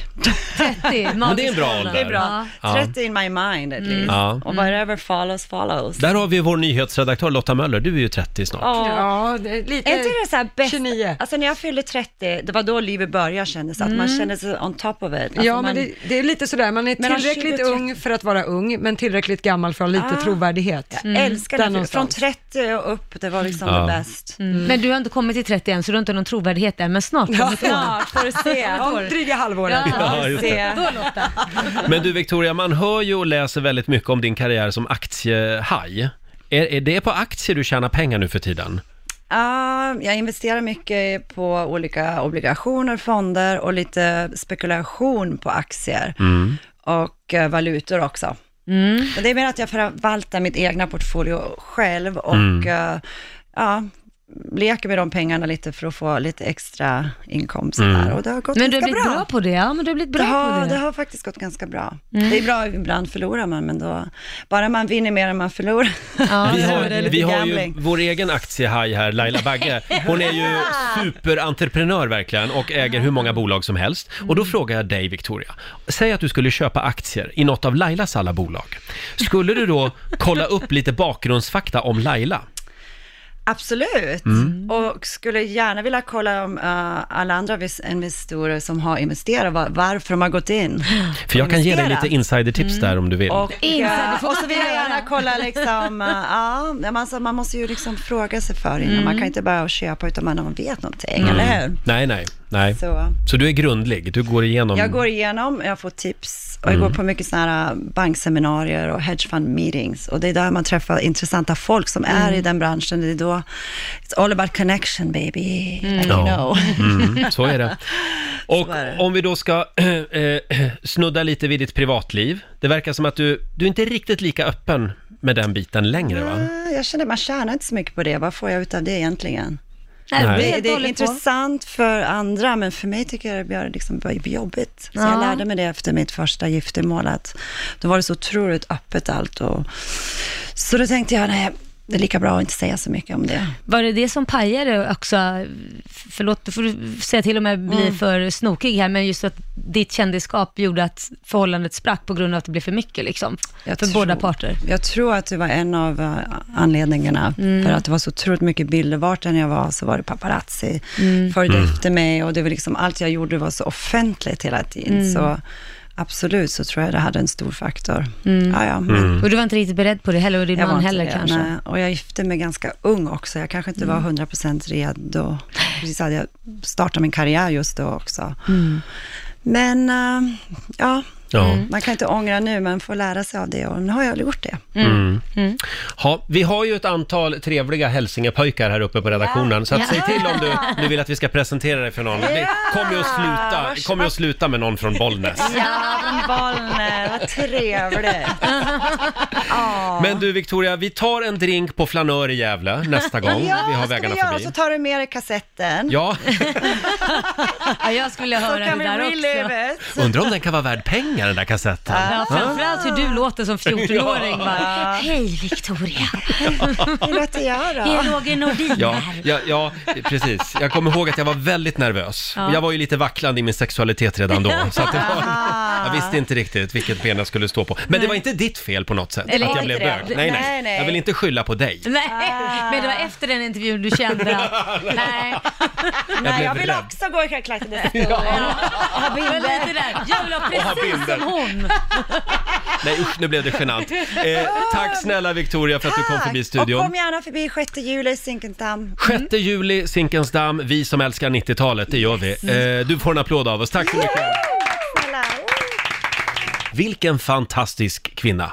Speaker 2: 30,
Speaker 1: Men det är en bra ålder.
Speaker 8: Det är bra.
Speaker 1: Ja.
Speaker 8: 30 in my mind at least.
Speaker 1: Ja.
Speaker 8: Och whatever follows follows.
Speaker 1: Där har vi vår nyhetsredaktör Lotta Möller, du är ju 30 snart.
Speaker 8: Ja.
Speaker 3: Ja, det är lite...
Speaker 8: Är inte det så här bäst?
Speaker 3: 29.
Speaker 8: Alltså när jag fyllde 30, det var då livet började kändes, att man kände sig on top of it. Alltså,
Speaker 3: Mm. Ja,
Speaker 8: man-
Speaker 3: men det, det är lite sådär, man är
Speaker 8: Mellan
Speaker 3: tillräckligt
Speaker 8: 20 och 30.
Speaker 3: ung för att vara ung, men tillräckligt gammal för att ha lite
Speaker 8: Ah.
Speaker 3: trovärdighet.
Speaker 8: Jag älskar
Speaker 3: mm. Där
Speaker 8: det. typ. Från
Speaker 3: någonstans. Mm.
Speaker 8: 30 och upp, det var liksom
Speaker 1: Ja.
Speaker 8: det bäst.
Speaker 2: Men du har inte kommit till 30 än, så du har inte någon trovärdighet än, men snart kommer du ja.
Speaker 8: Ja, får du
Speaker 2: Ah,
Speaker 8: se.
Speaker 3: Ja, Mm. dryga halvåret.
Speaker 1: Ja, just det.
Speaker 8: se.
Speaker 2: Då Lotta.
Speaker 1: Men du Victoria, man hör ju och läser väldigt mycket om din karriär som aktiehaj. Är, är det på aktier du tjänar pengar nu för tiden?
Speaker 8: Ja, jag investerar mycket på olika obligationer, fonder och lite spekulation på aktier. Och eh, valutor också.
Speaker 2: Mm.
Speaker 8: Men det är mer att jag förvaltar mitt egna portfolio själv och eh, ja, leker med de pengarna lite för att få lite extra inkomst där. Och det har gått
Speaker 2: Men du har
Speaker 8: ganska
Speaker 2: blivit
Speaker 8: bra.
Speaker 2: bra på det, ja men du har blivit bra
Speaker 8: det, har,
Speaker 2: på
Speaker 8: det.
Speaker 2: det. Mm.
Speaker 8: har faktiskt gått ganska bra. Det är bra, ibland förlorar man, men då, bara man vinner mer än man förlorar.
Speaker 2: Ja,
Speaker 1: vi
Speaker 8: det
Speaker 1: har,
Speaker 8: är lite
Speaker 1: vi har ju
Speaker 8: gambling.
Speaker 1: vår egen aktiehaj här, Laila Bagge. Hon är ju superentreprenör verkligen och äger hur många bolag som helst. Och då
Speaker 8: Mm.
Speaker 1: frågar jag dig Victoria, säg att du skulle köpa aktier i något av Lailas alla bolag. Skulle du då kolla upp lite bakgrundsfakta om Laila?
Speaker 8: Absolut,
Speaker 1: Mm.
Speaker 8: och skulle gärna vilja kolla om eh, alla andra vis- investorer som har investerat, var, varför de har gått in.
Speaker 1: För jag kan ge dig
Speaker 8: Investera.
Speaker 1: lite insidertips där om du vill.
Speaker 8: Mm. Och,
Speaker 2: Insider
Speaker 8: eh,
Speaker 2: får
Speaker 8: och så
Speaker 2: man
Speaker 8: vill jag
Speaker 2: göra.
Speaker 8: gärna kolla liksom, eh, ja, men alltså, man måste ju liksom fråga sig för innan,
Speaker 1: Mm.
Speaker 8: man kan inte bara köpa utan man vet någonting, eller hur?
Speaker 1: Nej, nej, nej.
Speaker 8: Så.
Speaker 1: Så du är grundlig, du går igenom...
Speaker 8: Jag går igenom, jag får tips och jag
Speaker 1: Mm.
Speaker 8: går på mycket sådana här eh, bankseminarier och hedge fund meetings. Och det är där man träffar intressanta folk som är
Speaker 1: Mm.
Speaker 8: i den branschen. Det är då, it's all about connection baby, and you
Speaker 1: Ja.
Speaker 8: know.
Speaker 1: Mm, så är det. Och
Speaker 8: är det.
Speaker 1: om vi då ska eh, eh, snudda lite vid ditt privatliv. Det verkar som att du, du är inte riktigt lika öppen med den biten längre va?
Speaker 8: Ja, Ah, Jag känner att man tjänar inte så mycket på det. Vad får jag ut av det egentligen?
Speaker 1: Nej.
Speaker 8: Det,
Speaker 2: helt
Speaker 8: det
Speaker 2: och
Speaker 8: är
Speaker 2: hållet på.
Speaker 8: intressant för andra, men för mig tycker jag det blir liksom bara jobbigt. Så
Speaker 2: Ja.
Speaker 8: jag lärde mig det efter mitt första giftermål, att då var det så otroligt öppet allt. Och... Så då tänkte jag, nej, det är lika bra att inte säga så mycket om det.
Speaker 2: Var det det som pajade också? Förlåt, du får säga till om jag blir
Speaker 8: Mm.
Speaker 2: för snokig här, men just att ditt kändisskap gjorde att förhållandet sprack på grund av att det blev för mycket liksom,
Speaker 8: Jag
Speaker 2: för
Speaker 8: tror-
Speaker 2: båda parter.
Speaker 8: Jag tror att det var en av eh, anledningarna.
Speaker 2: Mm.
Speaker 8: För att det var så otroligt mycket bilder. Vart än jag var så var det paparazzi.
Speaker 2: Mm.
Speaker 8: Följde efter mig och det var liksom allt jag gjorde var så offentligt hela tiden.
Speaker 2: Mm.
Speaker 8: Så absolut så tror jag det hade en stor faktor. Ja, ja, men
Speaker 2: Och du var inte riktigt beredd på det heller, och din
Speaker 8: jag var
Speaker 2: Mm. man
Speaker 8: inte
Speaker 2: heller
Speaker 8: det,
Speaker 2: kanske. Mm.
Speaker 8: nej. Och jag gifte mig ganska ung också. Jag kanske inte var 100% redo. Precis hade jag startat min karriär just då också.
Speaker 2: Mm.
Speaker 8: Men eh, ja,
Speaker 1: Ja.
Speaker 8: man kan inte ångra nu, men får lära sig av det. Och nu har jag gjort det.
Speaker 1: Ha, vi har ju ett antal trevliga hälsingepojkar här uppe på redaktionen, så att säg till om du, du vill att vi ska presentera dig för någon. Det kommer ju att sluta, kommer ju att sluta med någon från Bollnäs.
Speaker 8: Ja, från Bollnäs. Vad trevligt.
Speaker 1: Men du Victoria, vi tar en drink på Flanör i Gävle nästa gång vi har
Speaker 8: ska
Speaker 1: vägarna
Speaker 8: vi göra?
Speaker 1: förbi.
Speaker 8: Så tar du med dig kassetten.
Speaker 1: Ja,
Speaker 2: Ja, jag skulle vilja
Speaker 8: Så
Speaker 2: höra
Speaker 8: kan
Speaker 2: det
Speaker 8: vi
Speaker 2: där också.
Speaker 8: relive it.
Speaker 1: undrar om den kan vara värd pengar den där kassetten.
Speaker 2: Ja, framförallt hur du låter som 14-åring bara. Hej Victoria,
Speaker 8: Hur lät jag då?
Speaker 2: det är Roger Nordin
Speaker 1: Ja,
Speaker 2: här.
Speaker 1: ja, ja, precis. Jag kommer ihåg att jag var väldigt nervös. Jag var ju lite vacklande i min sexualitet redan då. Så att det var,
Speaker 8: Ah.
Speaker 1: jag visste inte riktigt vilket ben jag skulle stå på. Men det var inte ditt fel på något sätt,
Speaker 2: Eller
Speaker 1: att jag
Speaker 2: inte
Speaker 1: blev
Speaker 2: det.
Speaker 1: bög. Nej, nej,
Speaker 8: Nej, nej.
Speaker 1: Jag vill inte skylla på dig.
Speaker 2: Nej, men det var efter den intervjun du kände att, nej,
Speaker 1: blev
Speaker 8: Nej, jag vill
Speaker 1: rädd.
Speaker 8: också gå i klackklacken. Ja.
Speaker 2: det var lite där. Jag vill ha
Speaker 1: ha
Speaker 2: precis
Speaker 1: bilder.
Speaker 2: som hon.
Speaker 1: Nej, usch, nu blev det genant. Eh, tack snälla Victoria för att du kom förbi
Speaker 8: Och
Speaker 1: studion.
Speaker 8: kom gärna förbi 6 juli i Zinkensdamm.
Speaker 1: 6 juli, Zinkensdamm. Vi som älskar 90-talet, det gör vi. Eh, du får en applåd av oss. Tack så mycket.
Speaker 8: Snälla.
Speaker 1: Vilken fantastisk kvinna.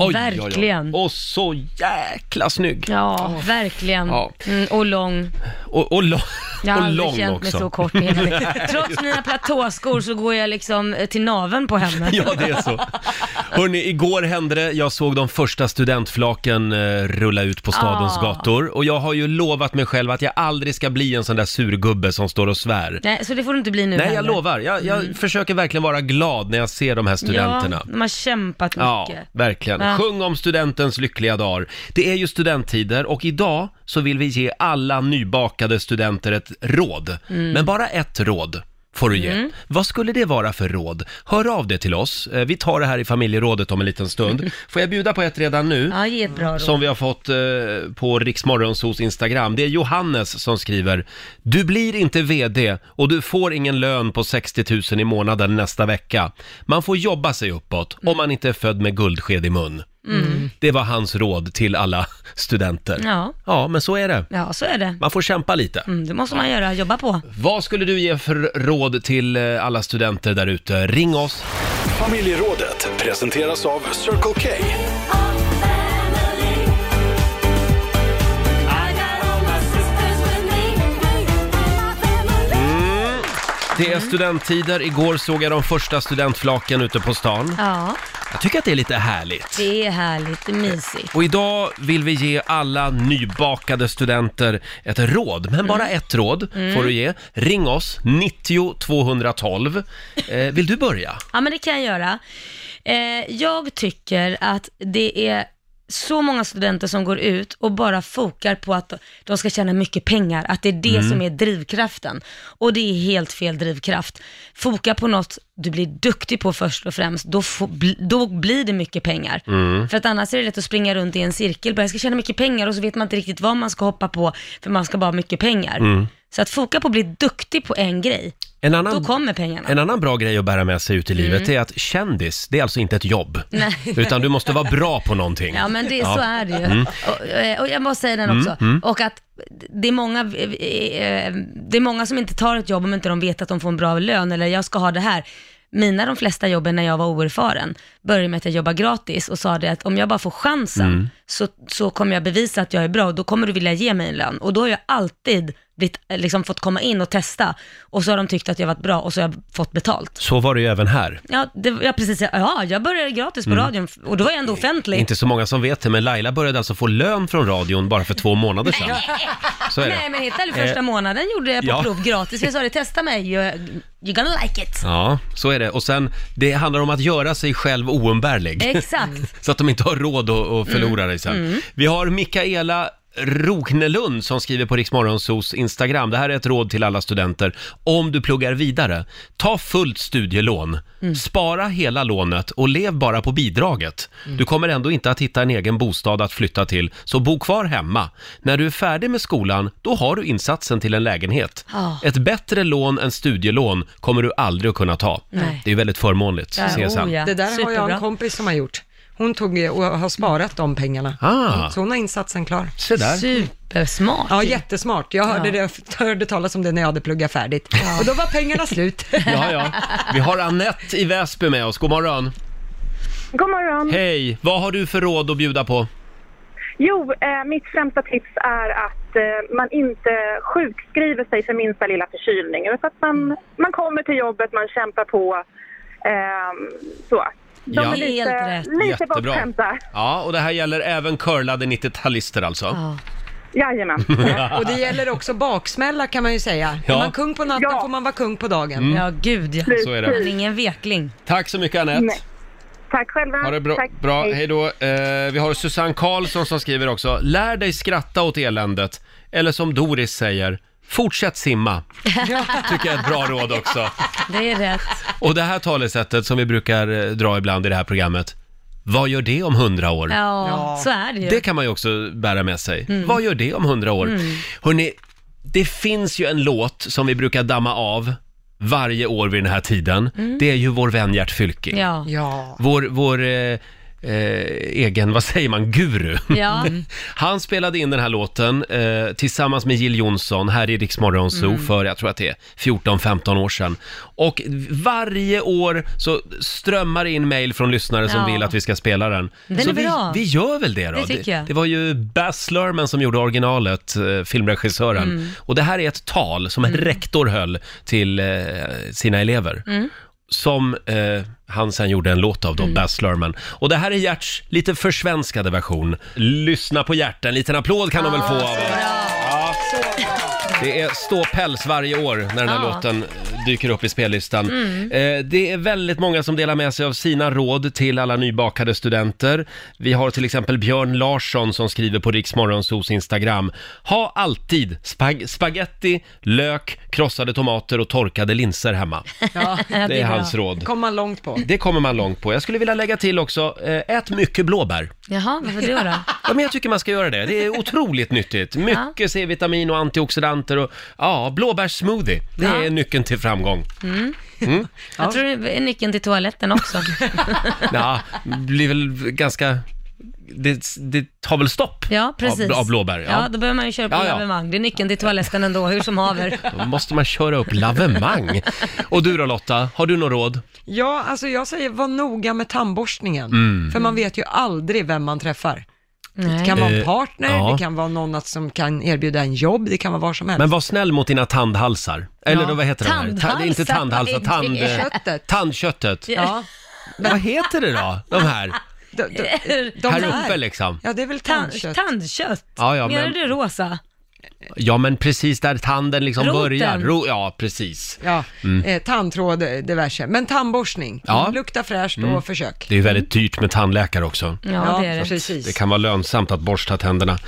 Speaker 1: Oj,
Speaker 2: Verkligen.
Speaker 1: Oj, oj. Och så jäkla snygg.
Speaker 2: Ja, verkligen.
Speaker 1: Ja.
Speaker 2: Mm, och lång.
Speaker 1: Och, och, lång-
Speaker 2: Jag har
Speaker 1: och
Speaker 2: aldrig
Speaker 1: lång
Speaker 2: känt mig
Speaker 1: också.
Speaker 2: så kort i hela mitt- Trots mina platåskor så går jag liksom eh, till naveln på henne.
Speaker 1: Ja, det är så. Hörni, igår hände det. Jag såg de första studentflaken eh, rulla ut på stadens
Speaker 2: Ah.
Speaker 1: gator. Och jag har ju lovat mig själv att jag aldrig ska bli en sån där surgubbe som står och svär.
Speaker 2: Nej, så det får du inte bli nu
Speaker 1: Nej,
Speaker 2: heller.
Speaker 1: jag lovar. Jag, jag försöker verkligen vara glad när jag ser de här studenterna.
Speaker 2: Ja, de har kämpat
Speaker 1: Ja,
Speaker 2: mycket.
Speaker 1: verkligen.
Speaker 2: Ja.
Speaker 1: Sjung om studentens lyckliga dagar. Det är ju studenttider och idag så vill vi ge alla nybakade studenter ett råd.
Speaker 2: Mm.
Speaker 1: Men bara ett råd får du ge. Vad skulle det vara för råd? Hör av det till oss. Eh, Vi tar det här i familjerådet om en liten stund. Får jag bjuda på ett redan nu?
Speaker 2: Ja, ge ett bra råd.
Speaker 1: Som vi har fått eh, på Riksmorgonsos Instagram. Det är Johannes som skriver. Du blir inte VD och du får ingen lön på 60 000 i månaden nästa vecka. Man får jobba sig uppåt
Speaker 2: Mm.
Speaker 1: om man inte är född med guldsked i mun. Det var hans råd till alla studenter.
Speaker 2: Ja.
Speaker 1: ja, men så är det.
Speaker 2: Ja, så är det.
Speaker 1: Man får kämpa lite.
Speaker 2: Mm, det måste man göra, jobba på.
Speaker 1: Vad skulle du ge för råd till eh, alla studenter där ute? Ring oss.
Speaker 4: Familjerådet presenteras av Circle K.
Speaker 9: Mm.
Speaker 1: Det
Speaker 2: Mm.
Speaker 1: är studenttider. Igår såg jag de första studentflaken ute på stan.
Speaker 2: Ja,
Speaker 1: Jag tycker att det är lite härligt.
Speaker 2: det är härligt, det är mysigt.
Speaker 1: Och idag vill vi ge alla nybakade studenter ett råd, men bara
Speaker 2: Mm.
Speaker 1: ett råd får du ge. Ring oss, 90 212. Eh, vill du börja?
Speaker 2: Ja, men det kan jag göra. Eh, jag tycker att det är så många studenter som går ut och bara fokar på att de ska tjäna mycket pengar, att det är det som är drivkraften. Och det är helt fel drivkraft. Foka på något du blir duktig på först och främst, då, få, bli- då blir det mycket pengar. För att annars är det lätt att springa runt i en cirkel, bara jag ska tjäna mycket pengar och så vet man inte riktigt vad man ska hoppa på, för man ska bara ha mycket pengar. Så att foka på att bli duktig på en grej,
Speaker 1: En
Speaker 2: då Mm.
Speaker 1: annan,
Speaker 2: kommer pengarna.
Speaker 1: en annan bra grej att bära med sig ut i livet är att kändis, det är alltså inte ett jobb. Utan du måste vara bra på någonting.
Speaker 2: Ja men det,
Speaker 1: Ja.
Speaker 2: så är det ju. Och, eh, och jag måste säga den också. Och att det är, många, eh, det är många som inte tar ett jobb om inte de vet att de får en bra lön eller jag ska ha det här. Mina de flesta jobben när jag var oerfaren började med att jag jobbade gratis och sa det att om jag bara får chansen så, så kommer jag bevisa att jag är bra och då kommer du vilja ge mig en lön. Och då har jag alltid blivit, eh, liksom fått komma in och testa och så har de tyckt att jag varit bra och så har jag fått betalt.
Speaker 5: Så var det ju även här.
Speaker 2: Ja, det, jag precis, ja, jag började gratis på radion och då var jag ändå offentlig.
Speaker 5: Inte så många som vet det, men Laila började alltså få lön från radion bara för två månader sedan. Så är
Speaker 2: Nej,
Speaker 5: det.
Speaker 2: men helt ärligt, första
Speaker 5: Eh,
Speaker 2: månaden gjorde jag på
Speaker 5: ja.
Speaker 2: prov gratis. Jag sa det, testa mig, you're, you're gonna like it.
Speaker 5: Ja, så är det. Och sen, det handlar om att göra sig själv oumbärlig.
Speaker 2: Exakt.
Speaker 5: Så att de inte har råd att, att förlora dig sen.
Speaker 2: Mm.
Speaker 5: Vi har Mikaela Roknelund som skriver på Riksmorgonsos Instagram. Det här är ett råd till alla studenter. Om du pluggar vidare, ta fullt studielån.
Speaker 2: Mm.
Speaker 5: Spara hela lånet och lev bara på bidraget.
Speaker 2: Mm.
Speaker 5: Du kommer ändå inte att hitta en egen bostad att flytta till, så bo kvar hemma. När du är färdig med skolan, då har du insatsen till en lägenhet.
Speaker 2: Ah.
Speaker 5: Ett bättre lån än studielån kommer du aldrig att kunna ta.
Speaker 2: Nej.
Speaker 5: Det är ju väldigt förmånligt,
Speaker 2: Ja,
Speaker 5: CSN.
Speaker 2: oh ja.
Speaker 3: Det där har jag
Speaker 2: Superbra.
Speaker 3: en kompis som har gjort. Hon tog ju- och har sparat de pengarna.
Speaker 5: Ah.
Speaker 3: Så hon har insatsen klar.
Speaker 5: Se där.
Speaker 2: Supersmart.
Speaker 3: Ja,
Speaker 2: ju.
Speaker 3: jättesmart. Jag hörde, det, jag hörde talas om det när jag hade pluggat färdigt. Och då var pengarna slut.
Speaker 5: Ja, ja. Vi har Annette i Väsby med oss. God morgon.
Speaker 8: God morgon.
Speaker 5: Hej! Vad har du för råd att bjuda på?
Speaker 8: Jo, eh, mitt främsta tips är att eh, man inte sjukskriver sig för minsta lilla förkylning. Utan att man, man kommer till jobbet, man kämpar på. Eh, så. De
Speaker 5: Ja.
Speaker 8: är
Speaker 2: Helt
Speaker 8: lite,
Speaker 2: rätt.
Speaker 8: lite bortskämta.
Speaker 5: Ja, och det här gäller även curlade 90-talister alltså.
Speaker 2: Ja.
Speaker 8: Jajamän.
Speaker 3: Och det gäller också baksmälla kan man ju säga.
Speaker 5: Ja.
Speaker 3: Är man kung på natten
Speaker 8: Ja.
Speaker 3: får man vara kung på dagen.
Speaker 2: Mm. ja, gud ja.
Speaker 5: Så är det.
Speaker 2: Men ingen vekling.
Speaker 5: Tack så mycket Anette.
Speaker 8: Nej. Tack själva.
Speaker 5: Ha det bra.
Speaker 8: Tack.
Speaker 5: bra.
Speaker 8: Hej.
Speaker 5: Hej då. Eh, vi har Susanne Karlsson som skriver också. Lär dig skratta åt eländet. Eller som Doris säger, fortsätt simma. Tycker jag är ett bra råd också.
Speaker 2: Det är rätt.
Speaker 5: Och det här talesättet som vi brukar eh, dra ibland i det här programmet. Vad gör det om hundra år?
Speaker 2: Ja, så är det ju.
Speaker 5: Det kan man ju också bära med sig.
Speaker 2: Mm.
Speaker 5: Vad gör det om hundra år? Hörrni, det finns ju en låt som vi brukar damma av varje år vid den här tiden. Det är ju vår vän Gert Fylking.
Speaker 2: Mm. Ja.
Speaker 3: Ja.
Speaker 5: Vår, vår eh, eh, egen, vad säger man, guru.
Speaker 2: Ja.
Speaker 3: Mm.
Speaker 5: Han spelade in den här låten eh, tillsammans med Jill Johnson här i Rix Morgon Zoo
Speaker 2: Mm.
Speaker 5: för, jag tror att det är 14-15 år sedan. Och varje år så strömmar det in mejl från lyssnare som
Speaker 2: Ja.
Speaker 5: vill att vi ska spela den.
Speaker 2: Den
Speaker 5: så
Speaker 2: är bra.
Speaker 5: Vi, vi gör väl det då?
Speaker 2: Det tycker jag.
Speaker 5: det var ju Baz Luhrmann som gjorde originalet, eh, filmregissören.
Speaker 2: Mm.
Speaker 5: Och det här är ett tal som en rektor höll till eh, sina elever.
Speaker 2: Mm.
Speaker 5: Som eh, han sen gjorde en låt av då, Baz Luhrmann. Och det här är Gerts lite försvenskade version. Lyssna på Gert, en liten applåd kan de väl få av oss. Ja. Det är ståpäls varje år när den här
Speaker 2: Ja. Mm.
Speaker 5: låten eh, dyker upp i spellistan. Eh, det är väldigt många som delar med sig av sina råd till alla nybakade studenter. Vi har till exempel Björn Larsson som skriver på Riksmorgonsos Instagram. Ha alltid spag- spaghetti, lök, krossade tomater och torkade linser hemma.
Speaker 2: Ja,
Speaker 5: Det är
Speaker 2: bra.
Speaker 5: hans råd.
Speaker 3: Kom man långt på.
Speaker 5: Det kommer man långt på. Jag skulle vilja lägga till också, eh, ät mycket blåbär.
Speaker 2: Jaha, varför det då?
Speaker 5: Ja, men jag tycker man ska göra det. Det är otroligt nyttigt. Mycket C-vitamin och antioxidanter och ja, blåbärssmoothie. Det
Speaker 2: Ja.
Speaker 5: är nyckeln till framgång.
Speaker 2: Jag tror det är nyckeln till toaletten också.
Speaker 5: Ja, blir väl ganska... Det, det tar väl stopp
Speaker 2: Ja, precis.
Speaker 5: Av, av blåbär?
Speaker 2: Ja.
Speaker 5: Ja.
Speaker 2: då behöver man ju köra på
Speaker 5: Ja,
Speaker 2: ja,
Speaker 5: ja.
Speaker 2: Det är nyckeln till toaletten ändå, hur som haver.
Speaker 5: Då måste man köra upp lavemang. Och du då Lotta, har du något råd?
Speaker 3: Ja, alltså jag säger var noga med tandborstningen.
Speaker 5: Mm.
Speaker 3: För man vet ju aldrig vem man träffar. Det
Speaker 2: Nej.
Speaker 3: kan vara en
Speaker 5: Eh,
Speaker 3: partner,
Speaker 5: ja.
Speaker 3: det kan vara någon att- som kan erbjuda en jobb, det kan vara var som helst.
Speaker 5: Men var snäll mot dina tandhalsar. Eller
Speaker 3: Ja.
Speaker 5: då, vad heter det här?
Speaker 2: Tandhalsar?
Speaker 5: Ta- Inte tandhalsar, tand...
Speaker 2: Det är
Speaker 3: köttet.
Speaker 5: Tandköttet.
Speaker 3: Ja,
Speaker 5: Vad heter det då? De här?
Speaker 3: de, de, de
Speaker 5: Här
Speaker 3: där.
Speaker 5: uppe liksom.
Speaker 3: Ja, det är väl
Speaker 2: Tandkött.
Speaker 3: tandkött.
Speaker 2: Tandkött?
Speaker 5: Ja, ja,
Speaker 2: Menar
Speaker 5: men-
Speaker 2: du rosa?
Speaker 5: Ja, men precis där tanden liksom
Speaker 2: Roten.
Speaker 5: börjar. Ro- ja, precis.
Speaker 3: Ja, eh, tandtråd, eh, diverse. Men tandborstning,
Speaker 5: Mm. Ja. Mm.
Speaker 3: lukta fräscht och försök.
Speaker 5: Det är ju väldigt dyrt med tandläkare också.
Speaker 2: Ja, det är det.
Speaker 3: precis.
Speaker 5: Det kan vara lönsamt att borsta tänderna.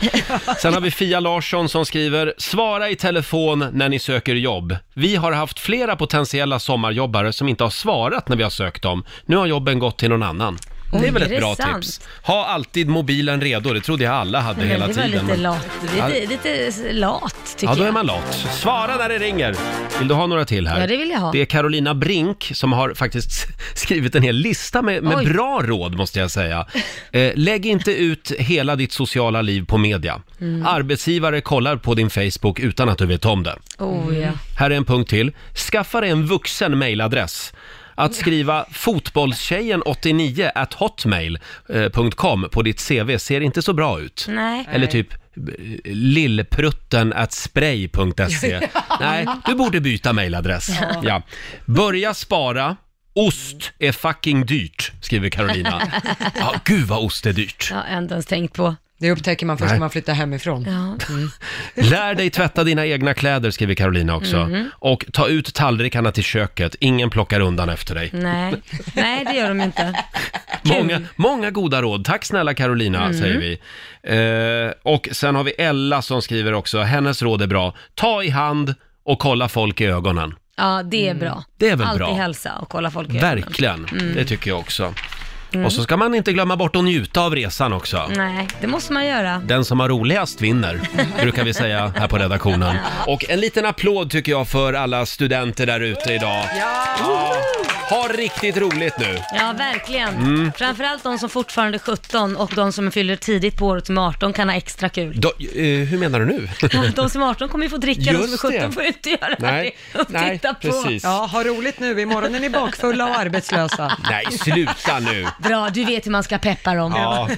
Speaker 5: Sen har vi Fia Larsson som skriver “Svara i telefon när ni söker jobb. Vi har haft flera potentiella sommarjobbare som inte har svarat när vi har sökt dem. Nu har jobben gått till någon annan.” Det är väl ett bra
Speaker 2: Intressant.
Speaker 5: tips. Ha alltid mobilen redo, det trodde jag alla hade hela
Speaker 2: det var
Speaker 5: tiden.
Speaker 2: lite
Speaker 5: men-
Speaker 2: lat.
Speaker 5: Ja.
Speaker 2: Lite, lite lat, tycker
Speaker 5: Ja, då är
Speaker 2: jag.
Speaker 5: man lat. Svara när det ringer. Vill du ha några till här?
Speaker 2: Ja, det vill jag ha.
Speaker 5: Det är Carolina Brink som har faktiskt skrivit en hel lista med, med
Speaker 2: Oj.
Speaker 5: bra råd, måste jag säga. Eh, lägg inte ut hela ditt sociala liv på media.
Speaker 2: Mm.
Speaker 5: Arbetsgivare kollar på din Facebook utan att du vet om det.
Speaker 2: Oh, ja.
Speaker 5: Här är en punkt till. Skaffa dig en vuxen mailadress.
Speaker 1: att skriva fotbollstjejen 89 at
Speaker 5: eh,
Speaker 1: hotmail.com på ditt CV ser inte så bra ut.
Speaker 2: Nej.
Speaker 1: Eller typ eh, lillprutten at spray.se. E. Nej, du borde byta mailadress. Ja. Börja spara. Ost är fucking dyrt, skriver Carolina. Ja, gud vad ost är dyrt.
Speaker 2: Jag har inte ens tänkt på.
Speaker 3: Det upptäcker man först när man flyttar hemifrån.
Speaker 2: Ja.
Speaker 1: Lär dig tvätta dina egna kläder, skriver Carolina också. Och ta ut tallrikarna till köket, ingen plockar undan efter dig.
Speaker 2: Nej. Nej, det gör de inte.
Speaker 1: Många, många goda råd. Tack snälla Carolina, säger vi. Eh, och sen har vi Ella som skriver också, hennes råd är bra. Ta i hand och kolla folk i ögonen.
Speaker 2: Ja, det är bra.
Speaker 1: Det är väl
Speaker 2: Alltid
Speaker 1: bra?
Speaker 2: hälsa och kolla folk i ögonen.
Speaker 1: Verkligen, det tycker jag också. Och så ska man inte glömma bort att njuta av resan också.
Speaker 2: Nej, det måste man göra.
Speaker 1: Den som har roligast vinner, brukar vi säga här på redaktionen. Och en liten applåd tycker jag för alla studenter där ute idag. Ja. Ha riktigt roligt nu.
Speaker 2: Ja, verkligen. Framförallt de som fortfarande är 17 och de som fyller tidigt på året som är 18 kan ha extra kul.
Speaker 1: Då, eh, hur menar du nu?
Speaker 2: De som är 18 kommer ju få dricka, de som är
Speaker 1: Just
Speaker 2: 17
Speaker 1: det.
Speaker 2: får ju inte göra
Speaker 1: Nej,
Speaker 2: det och
Speaker 1: nej,
Speaker 2: titta på.
Speaker 1: precis.
Speaker 3: Ja, ha roligt nu, imorgon är ni bakfulla och arbetslösa.
Speaker 1: Nej, sluta nu.
Speaker 2: Bra, du vet hur man ska peppa dem.
Speaker 1: Ja,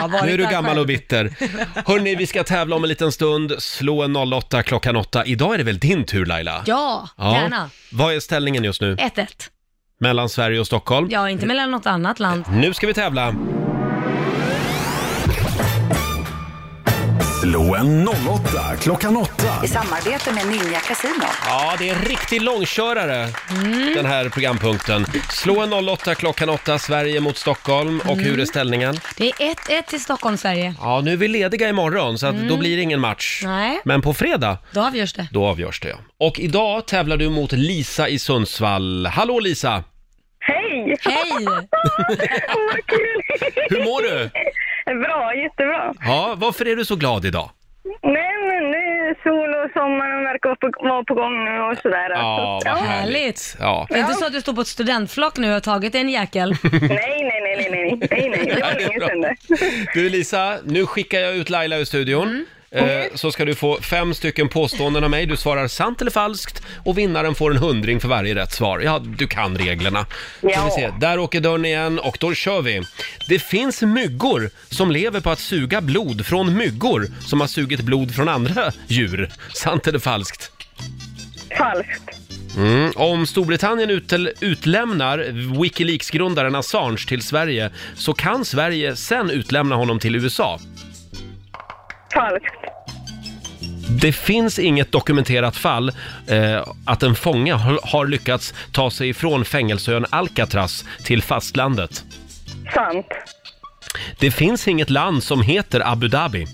Speaker 3: Ja, varit
Speaker 1: nu är du
Speaker 3: där
Speaker 1: gammal
Speaker 3: själv.
Speaker 1: och bitter. Hörni, vi ska tävla om en liten stund. Slå en 08 klockan 8. Idag är det väl din tur Laila?
Speaker 2: Ja, gärna.
Speaker 1: Vad är ställningen just nu?
Speaker 2: 1-1.
Speaker 1: Mellan Sverige och Stockholm?
Speaker 2: Ja, inte mellan något annat land.
Speaker 1: Nu ska vi tävla.
Speaker 4: Slå en 08 klockan 8.
Speaker 10: I samarbete med Ninja Casino.
Speaker 1: Ja, det är en riktig långkörare, den här programpunkten. Slå en 08 klockan 8, Sverige mot Stockholm. Och hur är ställningen?
Speaker 2: Det är 1-1 till Stockholm, Sverige.
Speaker 1: Ja, nu är vi lediga imorgon, så att då blir det ingen match.
Speaker 2: Nej.
Speaker 1: Men på fredag,
Speaker 2: Då avgörs det.
Speaker 1: då avgörs det. ja. Och idag tävlar du mot Lisa i Sundsvall. Hallå Lisa!
Speaker 6: Hej!
Speaker 2: Hej!
Speaker 6: Åh, vad kul!
Speaker 1: Hur mår du?
Speaker 6: Bra, jättebra.
Speaker 1: Ja, varför är du så glad idag?
Speaker 6: Nej, men nu är sol och sommaren verkar vara på- vara på gång nu och sådär.
Speaker 1: Ja,
Speaker 6: Så-
Speaker 1: vad
Speaker 2: Härligt.
Speaker 1: Ja.
Speaker 2: Det är inte så att du står på ett studentflak nu och har tagit en jäkel?
Speaker 6: Nej, nej, nej, nej, nej, nej, nej, det var
Speaker 1: det är
Speaker 6: länge
Speaker 1: bra.
Speaker 6: sedan det.
Speaker 1: Du Lisa, nu skickar jag ut Laila ur studion. Eh, så ska du få fem stycken påståenden av mig. Du svarar sant eller falskt och vinnaren får en hundring för varje rätt svar. Ja, du kan reglerna. Ska
Speaker 6: Ja.
Speaker 1: vi se. Där åker dörren igen och då kör vi. Det finns myggor som lever på att suga blod från myggor som har sugit blod från andra djur. Sant eller falskt?
Speaker 6: Falskt.
Speaker 1: Mm. Om Storbritannien utel- utlämnar Wikileaks-grundaren Assange till Sverige så kan Sverige sen utlämna honom till USA.
Speaker 6: Falskt.
Speaker 1: Det finns inget dokumenterat fall eh, att en fånge har, har lyckats ta sig ifrån fängelseön Alcatraz till fastlandet.
Speaker 6: Sant.
Speaker 1: Det finns inget land som heter Abu Dhabi.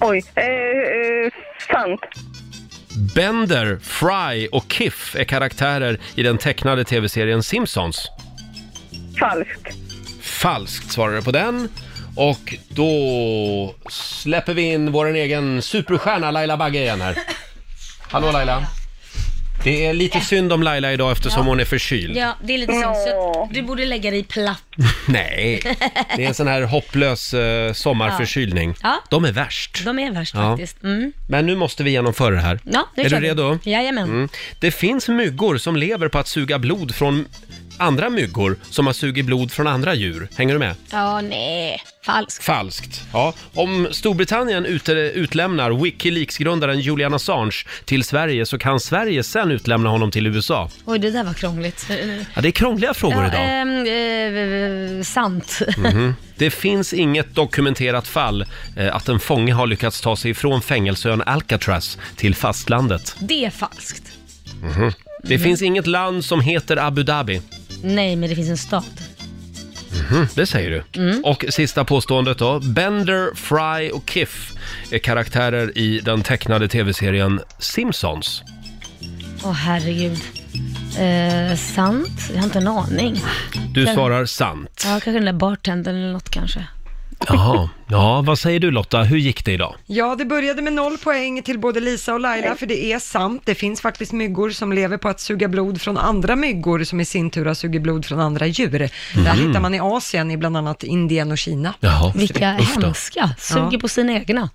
Speaker 6: Oj. Eh, eh, sant.
Speaker 1: Bender, Fry och Kiff är karaktärer i den tecknade tv-serien Simpsons.
Speaker 6: Falskt.
Speaker 1: Falskt svarar du på den. Och då släpper vi in vår egen superstjärna Laila Bagge igen här. Hallå Laila! Det är lite synd om Laila idag eftersom hon är förkyld.
Speaker 2: Ja, det är lite synd. Så du borde lägga dig platt.
Speaker 1: Nej, det är en sån här hopplös eh, sommarförkylning.
Speaker 2: Ja.
Speaker 1: De är värst.
Speaker 2: De är värst
Speaker 1: Ja.
Speaker 2: faktiskt. Mm.
Speaker 1: Men nu måste vi genomföra det här.
Speaker 2: Ja, nu
Speaker 1: är
Speaker 2: kör
Speaker 1: du
Speaker 2: vi.
Speaker 1: redo?
Speaker 2: Jajamän.
Speaker 1: Mm. Det finns myggor som lever på att suga blod från andra myggor som har sugit blod från andra djur. Hänger du med?
Speaker 2: Ja, nej. Falskt.
Speaker 1: Falskt. Ja. Om Storbritannien ut- utlämnar Wikileaks-grundaren Julian Assange till Sverige så kan Sverige sen utlämna honom till USA.
Speaker 2: Oj, det där var krångligt.
Speaker 1: Ja, det är krångliga frågor
Speaker 2: Eh, Ja,
Speaker 1: idag. Mm.
Speaker 2: ehm, eh, sant.
Speaker 1: Det finns inget dokumenterat fall eh, att en fånge har lyckats ta sig ifrån fängelseön Alcatraz till fastlandet.
Speaker 2: Det är falskt.
Speaker 1: Det
Speaker 2: Mm.
Speaker 1: finns inget land som heter Abu Dhabi.
Speaker 2: Nej, men det finns en stad.
Speaker 1: Mm, det säger du. Och sista påståendet då. Bender, Fry och Kiff är karaktärer i den tecknade tv-serien Simpsons.
Speaker 2: Åh, herregud. Eh, sant? Jag har inte en aning.
Speaker 1: Du svarar sant.
Speaker 2: Ja, kanske den där bartendern eller något kanske.
Speaker 1: Jaha. Ja, vad säger du Lotta? Hur gick det idag?
Speaker 3: Ja, det började med noll poäng till både Lisa och Laila, för det är sant. Det finns faktiskt myggor som lever på att suga blod från andra myggor, som i sin tur har sugit blod från andra djur. Det här hittar man i Asien, i bland annat Indien och Kina.
Speaker 1: Jaha.
Speaker 2: Vilka
Speaker 1: Usch då.
Speaker 2: hemska. Suger på sina egna.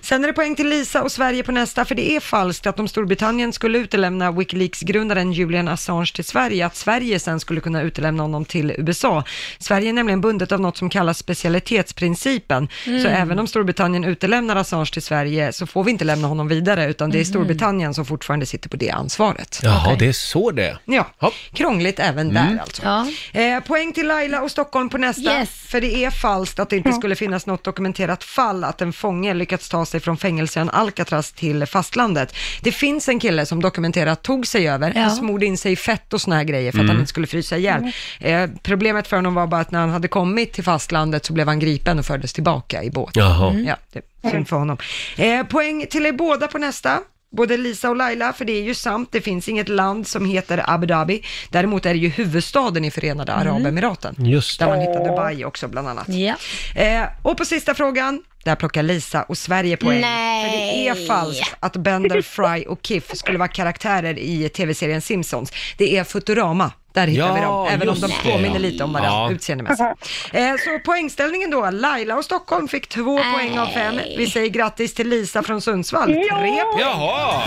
Speaker 3: Sen är det poäng till Lisa och Sverige på nästa, för det är falskt att om Storbritannien skulle utelämna Wikileaks-grundaren Julian Assange till Sverige, att Sverige sen skulle kunna utelämna honom till USA. Sverige är nämligen bundet av något som kallas specialitetsprincipen, så även om Storbritannien utelämnar Assange till Sverige så får vi inte lämna honom vidare, utan det är Storbritannien som fortfarande sitter på det ansvaret.
Speaker 1: Jaha, det är så det
Speaker 3: Ja,
Speaker 1: Hopp.
Speaker 3: krångligt även där alltså.
Speaker 2: Ja.
Speaker 3: Eh, poäng till Laila och Stockholm på nästa.
Speaker 2: Yes. Mm.
Speaker 3: För det är falskt att det inte skulle finnas något dokumenterat fall att en fånge lyckats ta sig från fängelsen Alcatraz till fastlandet. Det finns en kille som dokumenterat tog sig över,
Speaker 2: Ja. Mm.
Speaker 3: han smorde in sig i fett och såna här grejer för att han inte skulle frysa ihjäl. Eh, problemet för honom var bara att när han hade kommit till fastlandet så blev han gripen och fördes tillbaka i båt.
Speaker 1: Jaha.
Speaker 3: Ja, det är Mm. synd för honom. Eh, poäng till er båda på nästa. Både Lisa och Laila, för det är ju sant, det finns inget land som heter Abu Dhabi. Däremot är det ju huvudstaden i Förenade Arabemiraten.
Speaker 1: Just
Speaker 3: Där
Speaker 1: det.
Speaker 3: man hittar Dubai också bland annat.
Speaker 2: Ja.
Speaker 3: Eh, och på sista frågan, där plockar Lisa och Sverige poäng.
Speaker 2: Nej.
Speaker 3: För det är falskt att Bender, Fry och Kiff skulle vara karaktärer i tv-serien Simpsons. Det är Futurama. Där hittar
Speaker 1: Ja,
Speaker 3: vi dem, även om
Speaker 1: just
Speaker 3: de
Speaker 1: det.
Speaker 3: påminner lite om varandra
Speaker 1: Ja.
Speaker 3: utseendemässigt. Eh, så poängställningen då, Laila och Stockholm fick två poäng av fem. Vi säger grattis till Lisa från Sundsvall, tre poäng.
Speaker 1: Jaha!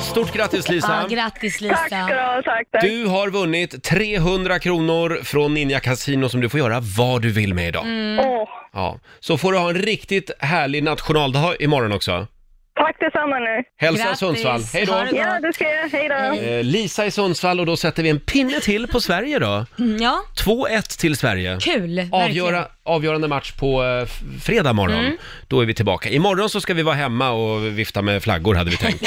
Speaker 1: Stort grattis
Speaker 2: Ja,
Speaker 1: Lisa!
Speaker 2: grattis
Speaker 6: Tack ska du
Speaker 2: Lisa.
Speaker 6: ha, tack, tack.
Speaker 1: Du har vunnit 300 kronor från Ninja Casino som du får göra vad du vill med idag.
Speaker 2: Mm.
Speaker 6: Åh,
Speaker 1: Ja. Så får du ha en riktigt härlig nationaldag imorgon också.
Speaker 6: tack detsamma nu.
Speaker 1: Hälsa
Speaker 2: Grattis.
Speaker 1: Sundsvall, hej
Speaker 2: Ha
Speaker 1: då!
Speaker 2: det
Speaker 6: Ja, det ska jag. Hej då.
Speaker 1: Eh, Lisa i Sundsvall och då sätter vi en pinne till på Sverige då.
Speaker 2: Mm, Ja,
Speaker 1: 2-1 till Sverige.
Speaker 2: kul. verkligen.
Speaker 1: Avgöra, avgörande match på eh, f- fredag morgon.
Speaker 2: Mm.
Speaker 1: Då är vi tillbaka. Imorgon så ska vi vara hemma och vifta med flaggor hade vi tänkt.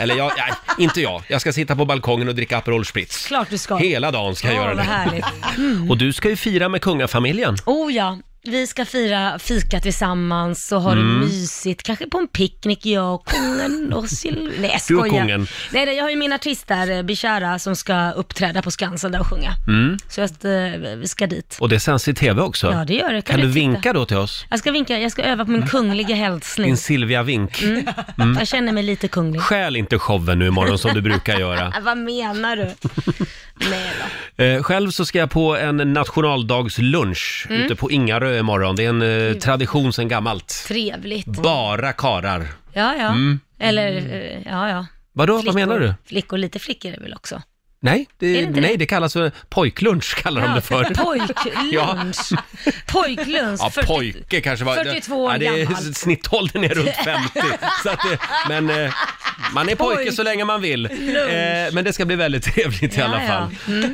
Speaker 1: Eller jag, nej, inte jag. Jag ska sitta på balkongen och dricka Aperol Spritz.
Speaker 2: Klart du ska.
Speaker 1: Hela dagen ska jag
Speaker 2: Åh,
Speaker 1: göra
Speaker 2: vad
Speaker 1: det.
Speaker 2: härligt.
Speaker 1: Och du ska ju fira med kungafamiljen.
Speaker 2: Oh ja, vi ska fira fika tillsammans och ha
Speaker 1: Mm.
Speaker 2: det mysigt. Kanske på en picknick, jag och kungen och Sil... Nej, jag
Speaker 1: Du och
Speaker 2: skojar.
Speaker 1: kungen.
Speaker 2: Nej, nej, jag har ju min artist där, eh, Bishara, som ska uppträda på Skansen där och sjunga.
Speaker 1: Mm.
Speaker 2: Så jag, eh, vi ska dit.
Speaker 1: Och det sänds i TV också.
Speaker 2: Ja, det gör det.
Speaker 1: Kan du
Speaker 2: titta? Mm.
Speaker 1: vinka då till oss?
Speaker 2: Jag ska vinka, jag ska öva på min
Speaker 1: Mm.
Speaker 2: kungliga hälsning.
Speaker 1: Din Silvia Vink.
Speaker 2: Mm.
Speaker 1: mm.
Speaker 2: Jag känner mig lite kunglig.
Speaker 1: Stjäl inte showen nu imorgon som du brukar göra.
Speaker 2: Ah, vad menar du? nej då.
Speaker 1: Eh, själv så ska jag på en nationaldagslunch
Speaker 2: Mm.
Speaker 1: ute på Ingarö imorgon. Det är en eh, tradition sedan gammalt.
Speaker 2: Trevligt.
Speaker 1: Bara karar.
Speaker 2: Ja, ja. Eller, eh, ja, ja.
Speaker 1: Vadå, Mm. vad menar du?
Speaker 2: Flickor, lite flickor är det väl också?
Speaker 1: Nej, det,
Speaker 2: Är det inte
Speaker 1: nej,
Speaker 2: det?
Speaker 1: det kallas för pojklunch kallar de det för.
Speaker 2: Pojklunch. Pojklunch.
Speaker 1: Ja,
Speaker 2: 40
Speaker 1: pojke kanske var...
Speaker 2: 42 år
Speaker 1: ja, det är
Speaker 2: gammal.
Speaker 1: Snittåldern är runt 50. så att det, men eh, man är pojke så länge man vill. Eh, men det ska bli väldigt trevligt i
Speaker 2: Ja, Mm.
Speaker 1: alla
Speaker 2: ja.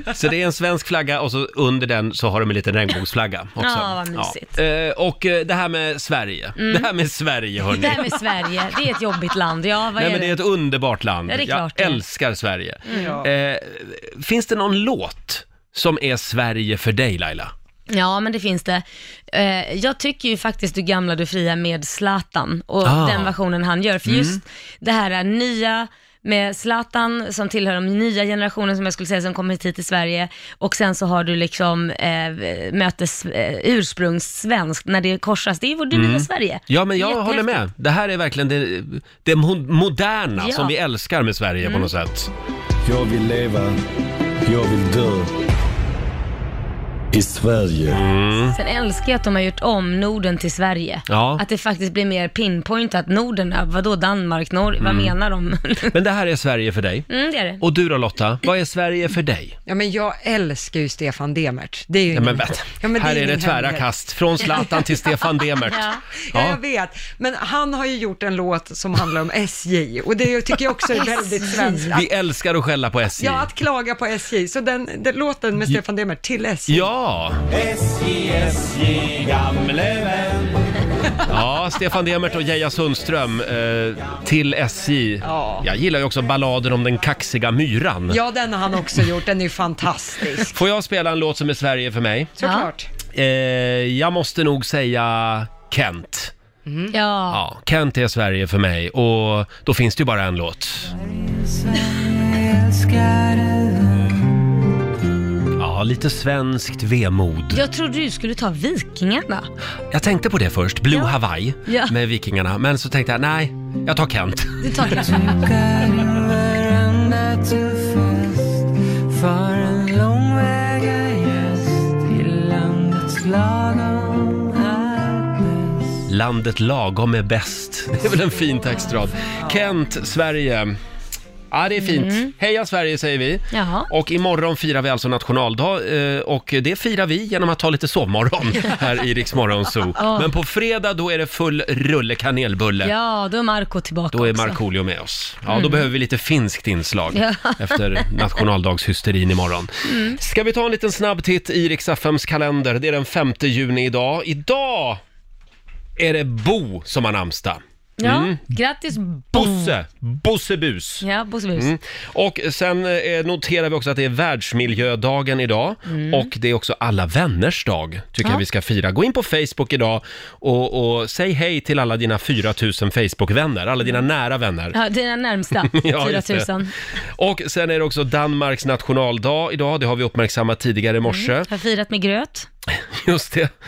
Speaker 1: fall. Så det är en svensk flagga och så under den så har de en liten regnbågsflagga också.
Speaker 2: Ja, vad mysigt. Mm.
Speaker 1: Ja. Eh, och eh, det här med Sverige. Det här med Sverige hörni.
Speaker 2: Det här med Sverige, det är ett jobbigt land. Ja, vad
Speaker 1: Nej,
Speaker 2: är
Speaker 1: men det är ett underbart land.
Speaker 2: Ja, det är
Speaker 1: jag
Speaker 2: klart det.
Speaker 1: älskar Sverige. Eh, finns det någon låt som är Sverige för dig Laila?
Speaker 2: Ja, men det finns det. Eh, jag tycker ju faktiskt Du gamla, du fria med Zlatan och
Speaker 1: Ah. Mm.
Speaker 2: den versionen han gör. För just det här är nya med Zlatan som tillhör den nya generationen som jag skulle säga som kommit hit till Sverige och sen så har du liksom eh, mötes eh, ursprungssvensk när det korsas. Det är vår det nya Sverige.
Speaker 1: Mm. Ja, men jag
Speaker 2: Jättehäftigt.
Speaker 1: håller med. Det här är verkligen det, det mo- moderna
Speaker 2: Ja. Mm.
Speaker 1: som vi älskar med Sverige på något sätt.
Speaker 11: Jag vill leva, jag vill dö i Sverige.
Speaker 2: Sen älskar jag att de har gjort om Norden till Sverige.
Speaker 1: Mm. Ja.
Speaker 2: Att det faktiskt blir mer pinpointat. Norden, ja, vadå Danmark, Norge, vad menar de?
Speaker 1: Men det här är Sverige för dig.
Speaker 2: mm, det är det.
Speaker 1: Mm. Och du då Lotta, vad är Sverige för dig?
Speaker 3: Ja, men jag älskar ju Stefan Demert. Det är ju
Speaker 1: Ja, men,
Speaker 3: ingen-
Speaker 1: vet,
Speaker 3: Ja, men
Speaker 1: här är, det
Speaker 3: ingen
Speaker 1: tvära
Speaker 3: hemlighet.
Speaker 1: kast. Från Zlatan till Stefan Demert.
Speaker 2: Ja.
Speaker 3: Ja,
Speaker 1: Ja.
Speaker 3: jag vet. Men han har ju gjort en låt som handlar om SJ och det tycker jag också är väldigt svenskt. Att,
Speaker 1: Vi älskar att skälla på SJ.
Speaker 3: ja, att klaga på SJ. Så den, den låten med Stefan Demert till SJ.
Speaker 1: Ja!
Speaker 11: SJ, SJ, gamle vän.
Speaker 1: Ja, Stefan Demert och Geija Sundström eh, till SJ.
Speaker 3: Ja.
Speaker 1: Jag gillar ju också balladen om den kaxiga myran.
Speaker 3: Ja, den har han också gjort. Den är ju fantastisk.
Speaker 1: Får jag spela en låt som är Sverige för mig?
Speaker 3: Såklart.
Speaker 1: Eh, jag måste nog säga Kent.
Speaker 2: Ja.
Speaker 1: Ja, Kent är Sverige för mig och då finns det ju bara en låt. Ja, lite svenskt vemod.
Speaker 2: Jag trodde du skulle ta Vikingarna.
Speaker 1: Jag tänkte på det först, Blue Hawaii
Speaker 2: Ja.
Speaker 1: med Vikingarna, men så tänkte jag nej, jag tar Kent.
Speaker 2: Det tar jag.
Speaker 1: Landet lagom är bäst. Det är väl en fin textrad. Kent, Sverige. Ja, det är fint.
Speaker 2: Mm.
Speaker 1: Heja Sverige säger vi.
Speaker 2: Jaha.
Speaker 1: Och imorgon firar vi alltså nationaldag eh, och det firar vi genom att ta lite sovmorgon här i Rix Morgon Zoo.
Speaker 2: Ja.
Speaker 1: Men på fredag då är det full rulle kanelbulle.
Speaker 2: Ja, då är Marco tillbaka
Speaker 1: Då är
Speaker 2: också.
Speaker 1: Markoolio med oss. Ja, då
Speaker 2: Mm.
Speaker 1: behöver vi lite finskt inslag
Speaker 2: Ja.
Speaker 1: efter nationaldagshysterin imorgon.
Speaker 2: Mm.
Speaker 1: Ska vi ta en liten snabb titt i Rix FMs kalender? Det är den 5 juni idag. Idag är det Bo som har namnsdag.
Speaker 2: Ja,
Speaker 1: Mm.
Speaker 2: grattis Bo.
Speaker 1: Bosse, Bosse Bus.
Speaker 2: Ja, Bosse Bus.
Speaker 1: Mm. Och sen eh, noterar vi också att det är världsmiljödagen idag
Speaker 2: Mm.
Speaker 1: och det är också alla vänners dag tycker
Speaker 2: Ja.
Speaker 1: jag vi ska fira. Gå in på Facebook idag och, och säg hej till alla dina 4000 Facebook-vänner, alla dina nära vänner.
Speaker 2: Ja, dina närmsta
Speaker 1: Ja, just det.
Speaker 2: 4000.
Speaker 1: Och sen är det också Danmarks nationaldag idag, det har vi uppmärksammat tidigare i morse.
Speaker 2: Har firat med gröt.
Speaker 1: Just det.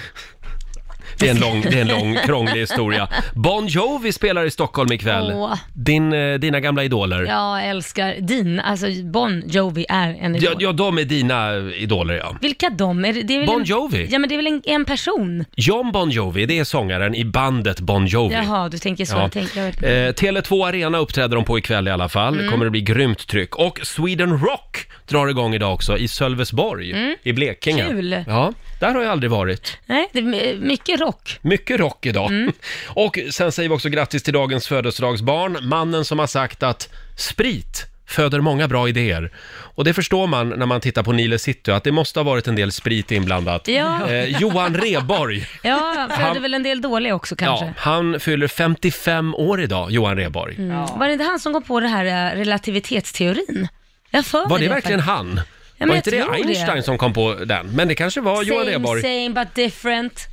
Speaker 1: Det är en lång, det är en lång krånglig historia. Bon Jovi spelar i Stockholm ikväll.
Speaker 2: Åh.
Speaker 1: Din, eh, dina gamla idoler.
Speaker 2: Jag älskar din, alltså Bon Jovi är en idol.
Speaker 1: Ja, ja, de är dina idoler ja.
Speaker 2: Vilka de? Är det, det är väl
Speaker 1: Bon
Speaker 2: en,
Speaker 1: Jovi.
Speaker 2: Ja, men det är väl en, en person?
Speaker 1: John Bon Jovi, det är sångaren i bandet Bon Jovi.
Speaker 2: Jaha, du tänker så.
Speaker 1: Ja.
Speaker 2: Jag tänker, jag vet.
Speaker 1: Eh, Tele2 Arena uppträder de på ikväll i alla fall.
Speaker 2: Mm.
Speaker 1: kommer det bli grymt tryck. Och Sweden Rock drar igång idag också i Sölvesborg
Speaker 2: Mm.
Speaker 1: i Blekinge.
Speaker 2: Kul.
Speaker 1: Ja, där har jag aldrig varit.
Speaker 2: Nej, det är my- mycket rock.
Speaker 1: Mycket rock idag.
Speaker 2: Mm.
Speaker 1: Och sen säger vi också grattis till dagens födelsedagsbarn, mannen som har sagt att sprit föder många bra idéer. Och det förstår man när man tittar på Nile City, att det måste ha varit en del sprit inblandat.
Speaker 2: Ja.
Speaker 1: Eh, Johan Reborg.
Speaker 2: Ja, han födde
Speaker 1: Han-
Speaker 2: väl en del dåliga också kanske.
Speaker 1: Ja, han fyller 55 år idag, Johan Rheborg.
Speaker 2: Mm. Var det inte han som kom på det här eh, relativitetsteorin? Jag för mig
Speaker 1: Var det
Speaker 2: i alla
Speaker 1: verkligen
Speaker 2: fall.
Speaker 1: han?
Speaker 2: men
Speaker 1: var
Speaker 2: jag
Speaker 1: inte det
Speaker 2: tror
Speaker 1: Einstein
Speaker 2: det.
Speaker 1: som kom på den? Men det kanske var Johan
Speaker 2: same,
Speaker 1: Rheborg.
Speaker 2: same but different.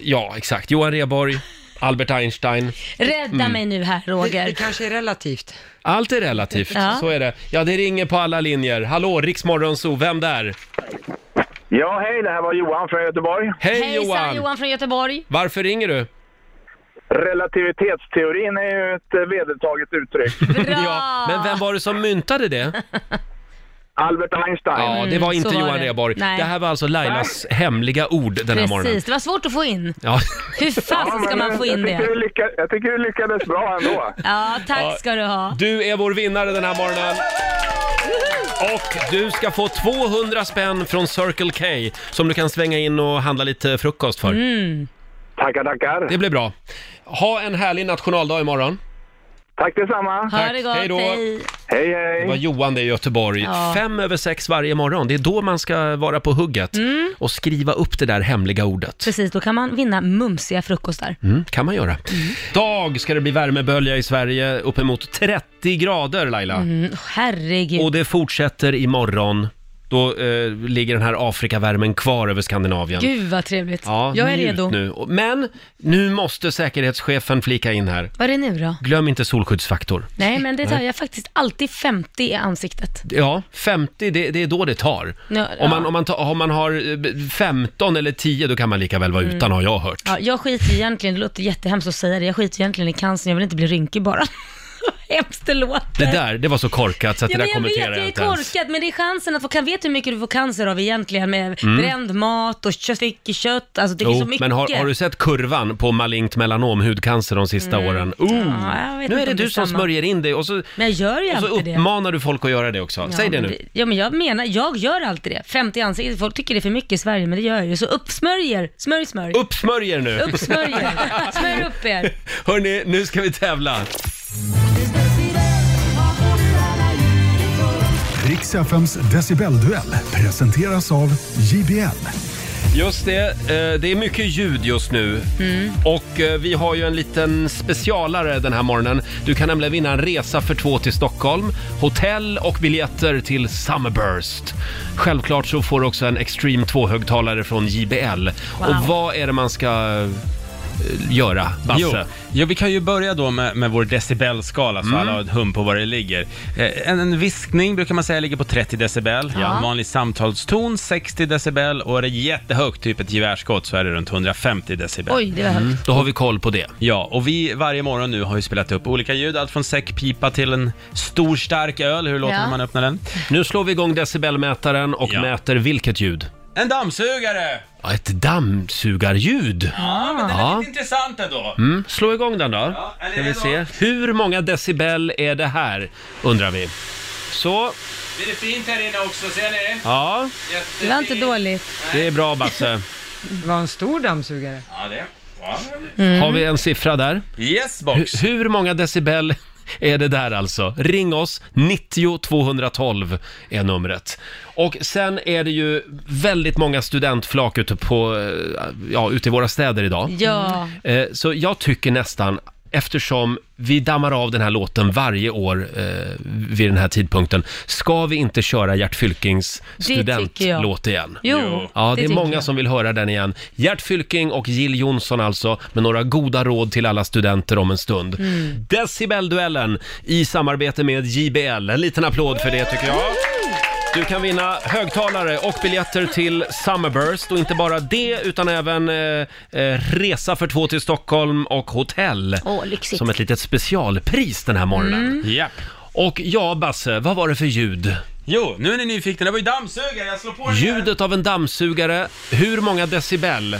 Speaker 1: Ja, exakt. Johan Rheborg, Albert Einstein.
Speaker 2: Rädda
Speaker 1: Mm.
Speaker 2: mig nu här Roger.
Speaker 1: Det- det
Speaker 2: kanske är relativt.
Speaker 1: Allt är relativt,
Speaker 2: Ja.
Speaker 1: så är det. Ja, det ringer på alla linjer. Hallå, Riksmorgonzoo, vem där?
Speaker 12: Ja, hej, det här var Johan från Göteborg.
Speaker 1: Hej,
Speaker 2: Hejsan
Speaker 1: Johan.
Speaker 2: Johan. från Göteborg.
Speaker 1: Varför ringer du?
Speaker 12: Relativitetsteorin är ju ett eh, vedertaget uttryck.
Speaker 1: Ja, men vem var det som myntade det?
Speaker 12: Albert Einstein.
Speaker 1: Ja, det var
Speaker 2: Mm,
Speaker 1: inte
Speaker 2: så var
Speaker 1: Johan
Speaker 2: det.
Speaker 1: Rheborg.
Speaker 2: Nej.
Speaker 1: Det här var alltså Lailas hemliga ord den här
Speaker 2: Precis,
Speaker 1: morgonen.
Speaker 2: det var svårt att få in.
Speaker 1: Ja.
Speaker 2: Hur fasen ska man få in
Speaker 12: jag, tycker du
Speaker 2: det?
Speaker 12: lycka, jag tycker du lyckades bra ändå.
Speaker 2: Ja,
Speaker 1: Ja.
Speaker 2: tack ska du ha.
Speaker 1: Du är vår vinnare den här morgonen. Och du ska få 200 spänn från Circle K som du kan svänga in och handla lite frukost för.
Speaker 12: Mm. Tackar, tackar.
Speaker 1: Det blir bra. Ha en härlig nationaldag imorgon.
Speaker 12: Tack detsamma.
Speaker 1: Ha Tack. det gott, Hej då. hej. Det var Johan det i Göteborg.
Speaker 2: Ja.
Speaker 1: Fem över sex varje morgon. Det är då man ska vara på hugget och skriva upp det där hemliga ordet.
Speaker 2: Mm. Precis, då kan man vinna mumsiga frukostar.
Speaker 1: Mm, kan man göra. Dag ska det bli värmebölja i Sverige, uppemot 30 grader Laila.
Speaker 2: Mm, herregud.
Speaker 1: Och det fortsätter imorgon. Då eh, ligger den här Afrikavärmen kvar över Skandinavien.
Speaker 2: Gud vad trevligt.
Speaker 1: Ja,
Speaker 2: jag är
Speaker 1: njut
Speaker 2: redo.
Speaker 1: Nu. Och- Men nu måste säkerhetschefen flika in här.
Speaker 2: Vad är det nu då?
Speaker 1: Glöm inte solskyddsfaktor.
Speaker 2: Nej, men det tar
Speaker 1: Nej.
Speaker 2: jag faktiskt alltid 50 i ansiktet.
Speaker 1: Ja, 50, det, det är då det tar.
Speaker 2: Ja, ja.
Speaker 1: Om, man, om, man ta, om man har eh, 15 eller 10, då kan man lika väl vara
Speaker 2: Mm.
Speaker 1: utan, har jag hört.
Speaker 2: Ja, jag skiter egentligen, det låter jättehemskt att säga det, jag skiter egentligen i cancern, jag vill inte bli rynkig bara. hemskt det låter.
Speaker 1: Det där, det var så korkat så att
Speaker 2: Ja,
Speaker 1: det där
Speaker 2: men jag vet,
Speaker 1: kommenterar
Speaker 2: jag är
Speaker 1: inte ens.
Speaker 2: korkad, men det är chansen att få, kan, vet du hur mycket du får cancer av egentligen med
Speaker 1: Mm.
Speaker 2: bränd mat och kött, stycke kött, alltså det är så mycket.
Speaker 1: men har, har du sett kurvan på malignt melanom, hudcancer de sista
Speaker 2: Mm.
Speaker 1: åren? Oh,
Speaker 2: Ja, jag vet
Speaker 1: nu
Speaker 2: inte
Speaker 1: är det
Speaker 2: om det
Speaker 1: du
Speaker 2: är
Speaker 1: som
Speaker 2: samma.
Speaker 1: smörjer in dig och så,
Speaker 2: Men jag gör ju
Speaker 1: och så
Speaker 2: alltid det.
Speaker 1: uppmanar du folk att göra det också.
Speaker 2: Ja,
Speaker 1: Säg det
Speaker 2: men
Speaker 1: nu.
Speaker 2: Ja, men jag menar, jag gör alltid det. 50 i ansiktet, folk tycker det är för mycket i Sverige, men det gör jag ju. Så uppsmörjer, smörj, smörj.
Speaker 1: Uppsmörj er nu!
Speaker 2: Uppsmörjer, smörj upp er.
Speaker 1: Hörni, nu ska vi tävla.
Speaker 13: Riks FMs decibelduell presenteras av JBL.
Speaker 1: Just det, eh, det är mycket ljud just nu. Och eh, vi har ju en liten specialare den här morgonen. Du kan nämligen vinna en resa för två till Stockholm, hotell och biljetter till Summerburst. Självklart så får du också en Extreme 2-högtalare från JBL.
Speaker 2: Wow.
Speaker 1: Och vad är det man ska eh, göra, Basse?
Speaker 5: Jo, ja, vi kan ju börja då med, med vår decibelskala så
Speaker 1: Mm.
Speaker 5: alla har ett hum på var det ligger. Eh, En, en viskning brukar man säga ligger på 30 decibel,
Speaker 1: Ja.
Speaker 5: en vanlig samtalston 60 decibel och är det jättehögt, typ ett gevärsskott, så är det runt 150 decibel.
Speaker 2: Oj, det var högt. Mm.
Speaker 1: Då har vi koll på det.
Speaker 5: Ja, och vi varje morgon nu har ju spelat upp olika ljud, allt från säckpipa till en stor stark öl. Hur låter
Speaker 2: Ja.
Speaker 5: det när man öppnar den?
Speaker 1: Nu slår vi igång decibelmätaren och mäter vilket ljud?
Speaker 5: En dammsugare!
Speaker 1: Ja, ett dammsugarljud.
Speaker 5: Ja, men den är
Speaker 1: Ja.
Speaker 5: lite intressant ändå.
Speaker 1: Ah. Mm, slå igång den då. Ska vi se. Hur många decibel är det här, undrar vi. Så,
Speaker 5: Det är fint här inne också, ser ni?
Speaker 1: ja,
Speaker 2: Det var inte dåligt.
Speaker 1: det är bra Basse.
Speaker 3: Det var en stor dammsugare.
Speaker 5: Ja, det.
Speaker 2: Mm.
Speaker 1: Har vi en siffra där?
Speaker 5: Yes, box.
Speaker 1: Hur, hur många decibel är det där alltså? Ring oss, 90 212 är numret. Och sen är det ju väldigt många studentflak ute, på, eh, ja, ute i våra städer idag.
Speaker 2: Ja.
Speaker 1: Eh, Så jag tycker nästan, eftersom vi dammar av den här låten varje år eh, vid den här tidpunkten, ska vi inte köra Gert Fylkings
Speaker 2: tycker jag.
Speaker 1: studentlåt igen?
Speaker 2: Jo,
Speaker 1: Ja, det, är
Speaker 2: tycker
Speaker 1: många
Speaker 2: jag.
Speaker 1: som vill höra den igen. Gert Fylking och Jill Johnson alltså, med några goda råd till alla studenter om en stund.
Speaker 11: Mm.
Speaker 1: Decibelduellen i samarbete med JBL. En liten applåd för det tycker jag. Du kan vinna högtalare och biljetter till Summerburst och inte bara det utan även eh, eh, resa för två till Stockholm och hotell.
Speaker 2: Åh, lyxigt.
Speaker 1: Som ett litet specialpris den här morgonen.
Speaker 2: Mm.
Speaker 5: Japp.
Speaker 1: Och ja, Basse, vad var det för ljud?
Speaker 5: Jo, nu är ni nyfikna. Det var ju dammsugare, jag slår på den igen.
Speaker 1: Ljudet av en dammsugare, hur många decibel?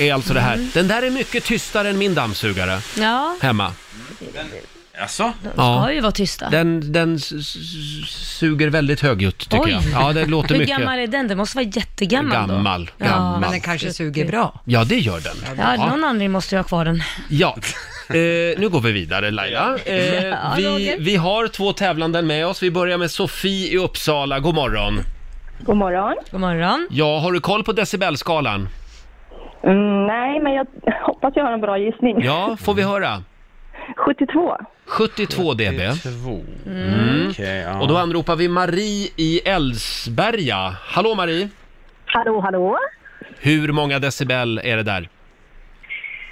Speaker 1: Är alltså det här.
Speaker 2: Mm.
Speaker 1: Den där är mycket tystare än min dammsugare
Speaker 2: Ja,
Speaker 1: hemma.
Speaker 5: Jaså?
Speaker 2: de ska
Speaker 1: Ja.
Speaker 2: ju vara tysta.
Speaker 1: Den, den s- s- suger väldigt högljutt tycker jag. Ja, det låter
Speaker 2: Hur
Speaker 1: mycket.
Speaker 2: gammal är den? Den måste vara jättegammal då.
Speaker 1: Gammal,
Speaker 2: Ja.
Speaker 1: gammal.
Speaker 3: Men den kanske suger bra.
Speaker 1: Ja, det gör den.
Speaker 2: Ja, någon anledning måste jag ha kvar den.
Speaker 1: Ja. Eh, nu går vi vidare Laila. Eh,
Speaker 2: Ja,
Speaker 1: vi,
Speaker 2: Roger.
Speaker 1: vi har två tävlande med oss. Vi börjar med Sofie i Uppsala. God morgon.
Speaker 9: God morgon.
Speaker 2: God morgon.
Speaker 1: Ja, har du koll på decibelskalan?
Speaker 9: Mm, nej, men jag hoppas jag har en bra gissning.
Speaker 1: Ja, får vi höra?
Speaker 9: 72.
Speaker 1: 72 dB.
Speaker 5: Mm.
Speaker 1: Mm.
Speaker 5: Okej, ja.
Speaker 1: Och då anropar vi Marie i Älvsberga. Hallå Marie!
Speaker 9: Hallå, hallå.
Speaker 1: Hur många decibel är det där?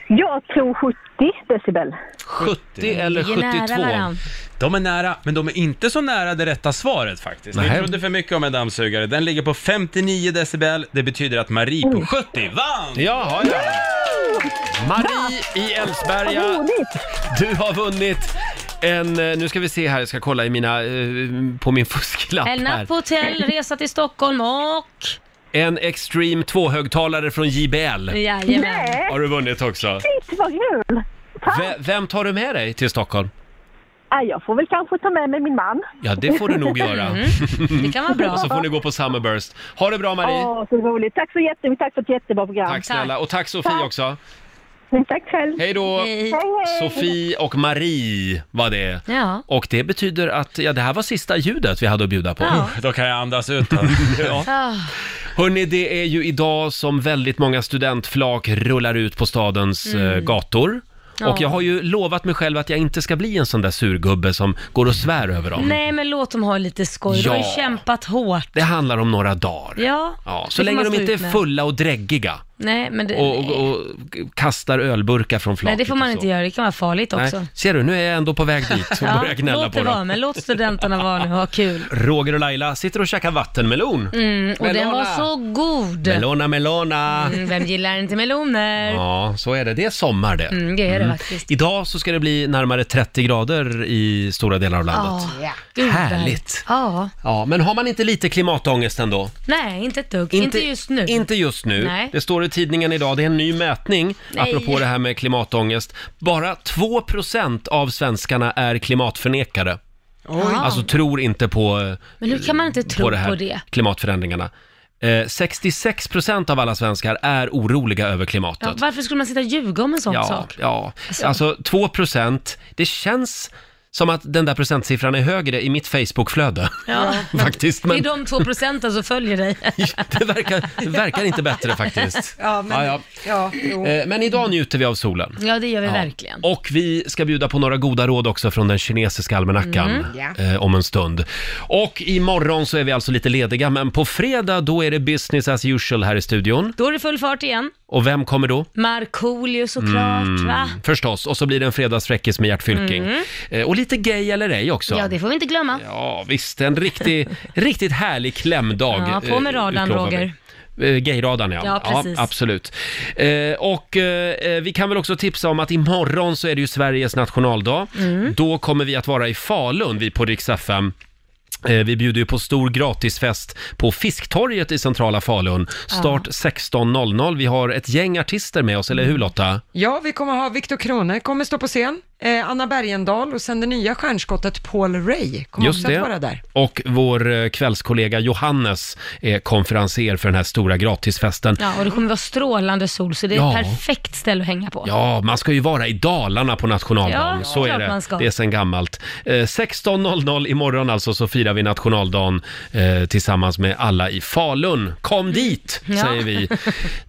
Speaker 9: Jag tror 70 decibel.
Speaker 1: 70 eller
Speaker 9: Ligger nära
Speaker 1: 72?
Speaker 9: varann.
Speaker 5: De är nära, men de är inte så nära det rätta svaret faktiskt. Ni
Speaker 1: Nej.
Speaker 5: trodde för mycket om en dammsugare. Den ligger på 59 decibel. Det betyder att Marie på 70 vann!
Speaker 1: Jaha, ja. Marie i Älvsberga. Du har vunnit en, eh, nu ska vi se här, jag ska kolla i mina, eh, på min fusklapp
Speaker 2: En
Speaker 1: här.
Speaker 2: natt på hotell, resa till Stockholm och...
Speaker 1: En Extreme 2-högtalare från JBL.
Speaker 2: Jajamän.
Speaker 1: Har du vunnit också.
Speaker 9: Shit, vad kul!
Speaker 1: V- vem tar du med dig till Stockholm?
Speaker 9: Ah, jag får väl kanske ta med mig min man.
Speaker 1: Ja, det får du nog göra.
Speaker 9: Det kan vara bra.
Speaker 1: Och så får ni gå på Summerburst. Ha det bra Marie!
Speaker 9: Åh, så roligt. Tack så jättemycket. Tack för ett jättebra program.
Speaker 1: Tack snälla, och tack Sofie också.
Speaker 9: Tack, tack själv.
Speaker 1: Hej då!
Speaker 9: Hej, hej.
Speaker 1: Sofie och Marie var det.
Speaker 2: Ja.
Speaker 1: Och det betyder att, ja det här var sista ljudet vi hade att bjuda på.
Speaker 2: Ja.
Speaker 5: Då kan jag andas ut. ja.
Speaker 2: Ah,
Speaker 1: Hörni, det är ju idag som väldigt många studentflak rullar ut på stadens
Speaker 2: Mm.
Speaker 1: eh, gator.
Speaker 2: Ja.
Speaker 1: Och jag har ju lovat mig själv att jag inte ska bli en sån där surgubbe som går och svär över dem.
Speaker 2: Nej, men låt dem ha lite skoj. De har ju
Speaker 1: Ja.
Speaker 2: kämpat hårt.
Speaker 1: Det handlar om några dagar.
Speaker 2: Ja,
Speaker 1: Ja,
Speaker 2: det
Speaker 1: så
Speaker 2: får
Speaker 1: länge
Speaker 2: man
Speaker 1: de
Speaker 2: stå
Speaker 1: inte
Speaker 2: ut
Speaker 1: är
Speaker 2: med.
Speaker 1: fulla och dräggiga
Speaker 2: Nej, men det,
Speaker 1: och, och, och kastar ölburkar från flaket.
Speaker 2: nej, det får
Speaker 1: och
Speaker 2: man
Speaker 1: så.
Speaker 2: inte göra. Det kan vara farligt också.
Speaker 1: Nej, ser du, nu är jag ändå på väg dit och börjar gnälla
Speaker 2: låt
Speaker 1: på
Speaker 2: det
Speaker 1: dem.
Speaker 2: vara, men låt studenterna vara nu och ha kul.
Speaker 1: Roger och Laila sitter och käkar vattenmelon.
Speaker 2: Mm, och den var
Speaker 1: Melona.
Speaker 2: så god.
Speaker 1: Melona, melona.
Speaker 2: Mm, vem gillar inte meloner?
Speaker 1: Ja, så är det. Det är sommar det.
Speaker 2: Mm, det är det faktiskt.
Speaker 1: Idag så ska det bli närmare 30 grader i stora delar av landet.
Speaker 2: Ja, gud, vad
Speaker 1: Härligt.
Speaker 2: Ja.
Speaker 1: Ja, men har man inte lite klimatångest ändå?
Speaker 2: Nej, inte ett dugg. Inte, just nu.
Speaker 1: Inte just nu.
Speaker 2: Nej.
Speaker 1: Det står i tidningen idag, det är en ny mätning,
Speaker 2: Nej.
Speaker 1: apropå det här med klimatångest. Bara 2% av svenskarna är klimatförnekare.
Speaker 2: Oj.
Speaker 1: Alltså tror inte på eh,
Speaker 2: Men hur kan man inte tro
Speaker 1: på det här
Speaker 2: på det?
Speaker 1: klimatförändringarna. Eh, 66% av alla svenskar är oroliga över klimatet.
Speaker 2: Ja, varför skulle man sitta och ljuga om en sån
Speaker 1: ja, Alltså,
Speaker 2: sak?
Speaker 1: ja.
Speaker 2: Alltså-
Speaker 1: Alltså 2%, det känns som att den där procentsiffran är högre i mitt Facebook-flöde.
Speaker 2: Ja.
Speaker 1: faktiskt. Men
Speaker 2: Det är de två procenten som följer dig.
Speaker 1: det, verkar, det verkar inte bättre faktiskt.
Speaker 2: Ja, men-
Speaker 3: ja, jo.
Speaker 1: Eh, Men idag njuter vi av solen.
Speaker 2: Ja, det gör vi
Speaker 1: Ja.
Speaker 2: verkligen.
Speaker 1: Och vi ska bjuda på några goda råd också från den kinesiska almanackan
Speaker 2: Mm, ja.
Speaker 1: eh, om en stund. Och imorgon så är vi alltså lite lediga, men på fredag då är det business as usual här i studion.
Speaker 2: Då är det full fart igen.
Speaker 1: Och vem kommer då?
Speaker 2: Markoolio såklart,
Speaker 1: Mm.
Speaker 2: va?
Speaker 1: förstås, och så blir det en fredagsfräckis med Gert Fylking.
Speaker 2: Mm.
Speaker 1: Eh, Och lite gay eller ej också.
Speaker 2: Ja, det får vi inte glömma.
Speaker 1: Ja, visst, en riktig, riktigt härlig klämdag.
Speaker 2: Ja, på med
Speaker 1: eh,
Speaker 2: radarn,
Speaker 1: utlovar vi.
Speaker 2: Roger.
Speaker 1: Eh, Gayradarn ja.
Speaker 2: Ja, precis.
Speaker 1: absolut. Eh, och eh, vi kan väl också tipsa om att imorgon så är det ju Sveriges nationaldag.
Speaker 11: Mm.
Speaker 1: Då kommer vi att vara i Falun, vi på Rix FM. Eh, Vi bjuder ju på stor gratisfest på Fisktorget i centrala Falun. Start 16.00. Vi har ett gäng artister med oss, eller hur
Speaker 2: Mm.
Speaker 1: Lotta?
Speaker 3: Ja, vi kommer ha Viktor Krone kommer stå på scen, eh, Anna Bergendahl och sen det nya stjärnskottet Paul Ray kommer
Speaker 1: Just
Speaker 3: också
Speaker 1: det.
Speaker 3: att vara där.
Speaker 1: Och vår eh, kvällskollega Johannes är konferenser för den här stora gratisfesten.
Speaker 2: Ja, och det kommer vara strålande sol, så det är
Speaker 1: Ja.
Speaker 2: ett perfekt ställe att hänga på.
Speaker 1: Ja, man ska ju vara i Dalarna på nationaldagen.
Speaker 2: Ja,
Speaker 1: så är
Speaker 2: klart
Speaker 1: det.
Speaker 2: man ska.
Speaker 1: Det är sen gammalt. Eh, 16.00 imorgon alltså så firar vi nationaldagen eh, tillsammans med alla i Falun. Kom dit,
Speaker 11: Ja.
Speaker 1: säger vi.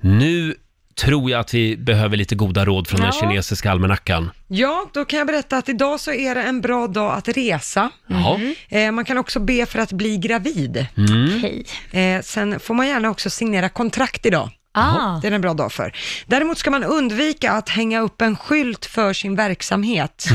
Speaker 1: Nu tror jag att vi behöver lite goda råd från den
Speaker 3: Ja.
Speaker 1: kinesiska almanackan.
Speaker 3: Ja, då kan jag berätta att idag så är det en bra dag att resa.
Speaker 1: Jaha. Mhm.
Speaker 3: Eh, man kan också be för att bli gravid.
Speaker 1: Mm.
Speaker 3: Eh, sen får man gärna också signera kontrakt idag.
Speaker 2: Ah.
Speaker 3: Det är en bra dag för. Däremot ska man undvika att hänga upp en skylt för sin verksamhet.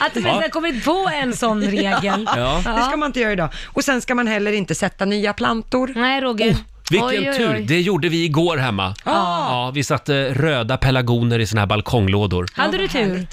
Speaker 2: Att de inte har kommit på en sån regel.
Speaker 3: Ja. Det ska man inte göra idag. Och sen ska man heller inte sätta nya plantor.
Speaker 2: Nej, Roger.
Speaker 1: Oh, Vilken tur! Det gjorde vi igår hemma.
Speaker 2: Ah.
Speaker 1: Ja, vi satte röda pelargoner i såna här balkonglådor.
Speaker 2: Hade du tur?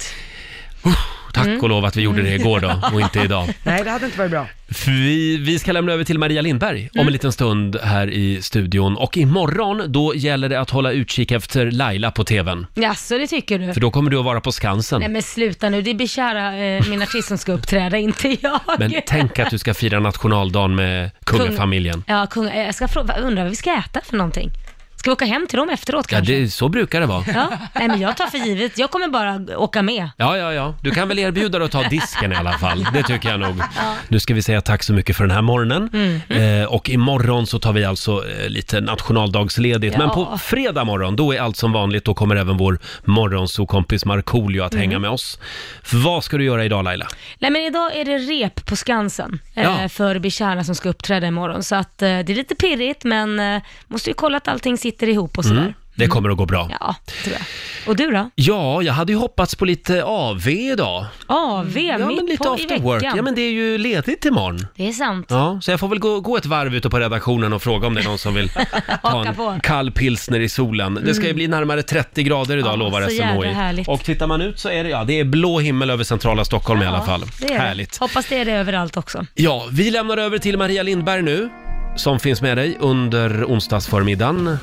Speaker 1: Tack och lov att vi gjorde det igår då och inte idag.
Speaker 3: Nej, det hade inte varit bra.
Speaker 1: Vi, vi ska lämna över till Maria Lindberg om en liten stund här i studion. Och imorgon, då gäller det att hålla utkik efter Laila på TVn.
Speaker 2: Jaså, det tycker du?
Speaker 1: För då kommer du att vara på Skansen.
Speaker 2: Nej men sluta nu, det blir kära eh, min artist som ska uppträda, inte jag.
Speaker 1: Men tänk att du ska fira nationaldagen med kungafamiljen.
Speaker 2: Ja, kung, eh, jag ska fråga, undrar vad vi ska äta för någonting? Ska vi åka hem till dem efteråt
Speaker 1: Ja,
Speaker 2: kanske?
Speaker 1: det, så brukar det vara.
Speaker 2: Ja, nej men jag tar för givet, jag kommer bara åka med.
Speaker 1: Ja, ja, ja. Du kan väl erbjuda dig att ta disken i alla fall. Det tycker jag nog. Nu ska vi säga tack så mycket för den här morgonen.
Speaker 2: Mm.
Speaker 1: Eh, och imorgon så tar vi alltså eh, lite nationaldagsledigt.
Speaker 11: Ja.
Speaker 1: Men på fredag morgon, då är allt som vanligt. Då kommer även vår morgonsokompis Markoolio att
Speaker 2: Mm.
Speaker 1: hänga med oss. Vad ska du göra idag Laila?
Speaker 2: Nej men idag är det rep på Skansen eh,
Speaker 1: Ja.
Speaker 2: för Bishara som ska uppträda imorgon. Så att eh, det är lite pirrigt men eh, måste ju kolla att allting sitter ihop och sådär.
Speaker 1: Mm, det kommer att gå bra.
Speaker 2: Ja, tror jag. Och du då?
Speaker 1: Ja, jag hade ju hoppats på lite AV idag.
Speaker 2: AV,
Speaker 1: ja,
Speaker 2: Ah, mitt
Speaker 1: men lite
Speaker 2: på i
Speaker 1: after
Speaker 2: veckan.
Speaker 1: work. Ja, men det är ju ledigt imorgon.
Speaker 2: Det är sant.
Speaker 1: Ja, så jag får väl gå, gå ett varv ute på redaktionen och fråga om det är någon som vill ta
Speaker 2: Haka
Speaker 1: en
Speaker 2: på.
Speaker 1: kall pilsner i solen. Det ska ju
Speaker 2: Mm.
Speaker 1: bli närmare 30 grader idag lovar
Speaker 2: så jävla
Speaker 1: SMHI.
Speaker 2: härligt.
Speaker 1: Och tittar man ut så är det, ja, det är blå himmel över centrala Stockholm i alla fall.
Speaker 2: Det är det.
Speaker 1: Härligt.
Speaker 2: Hoppas det är det överallt också.
Speaker 1: Ja, vi lämnar över till Maria Lindberg nu, som finns med dig under onsdagsförmiddagen.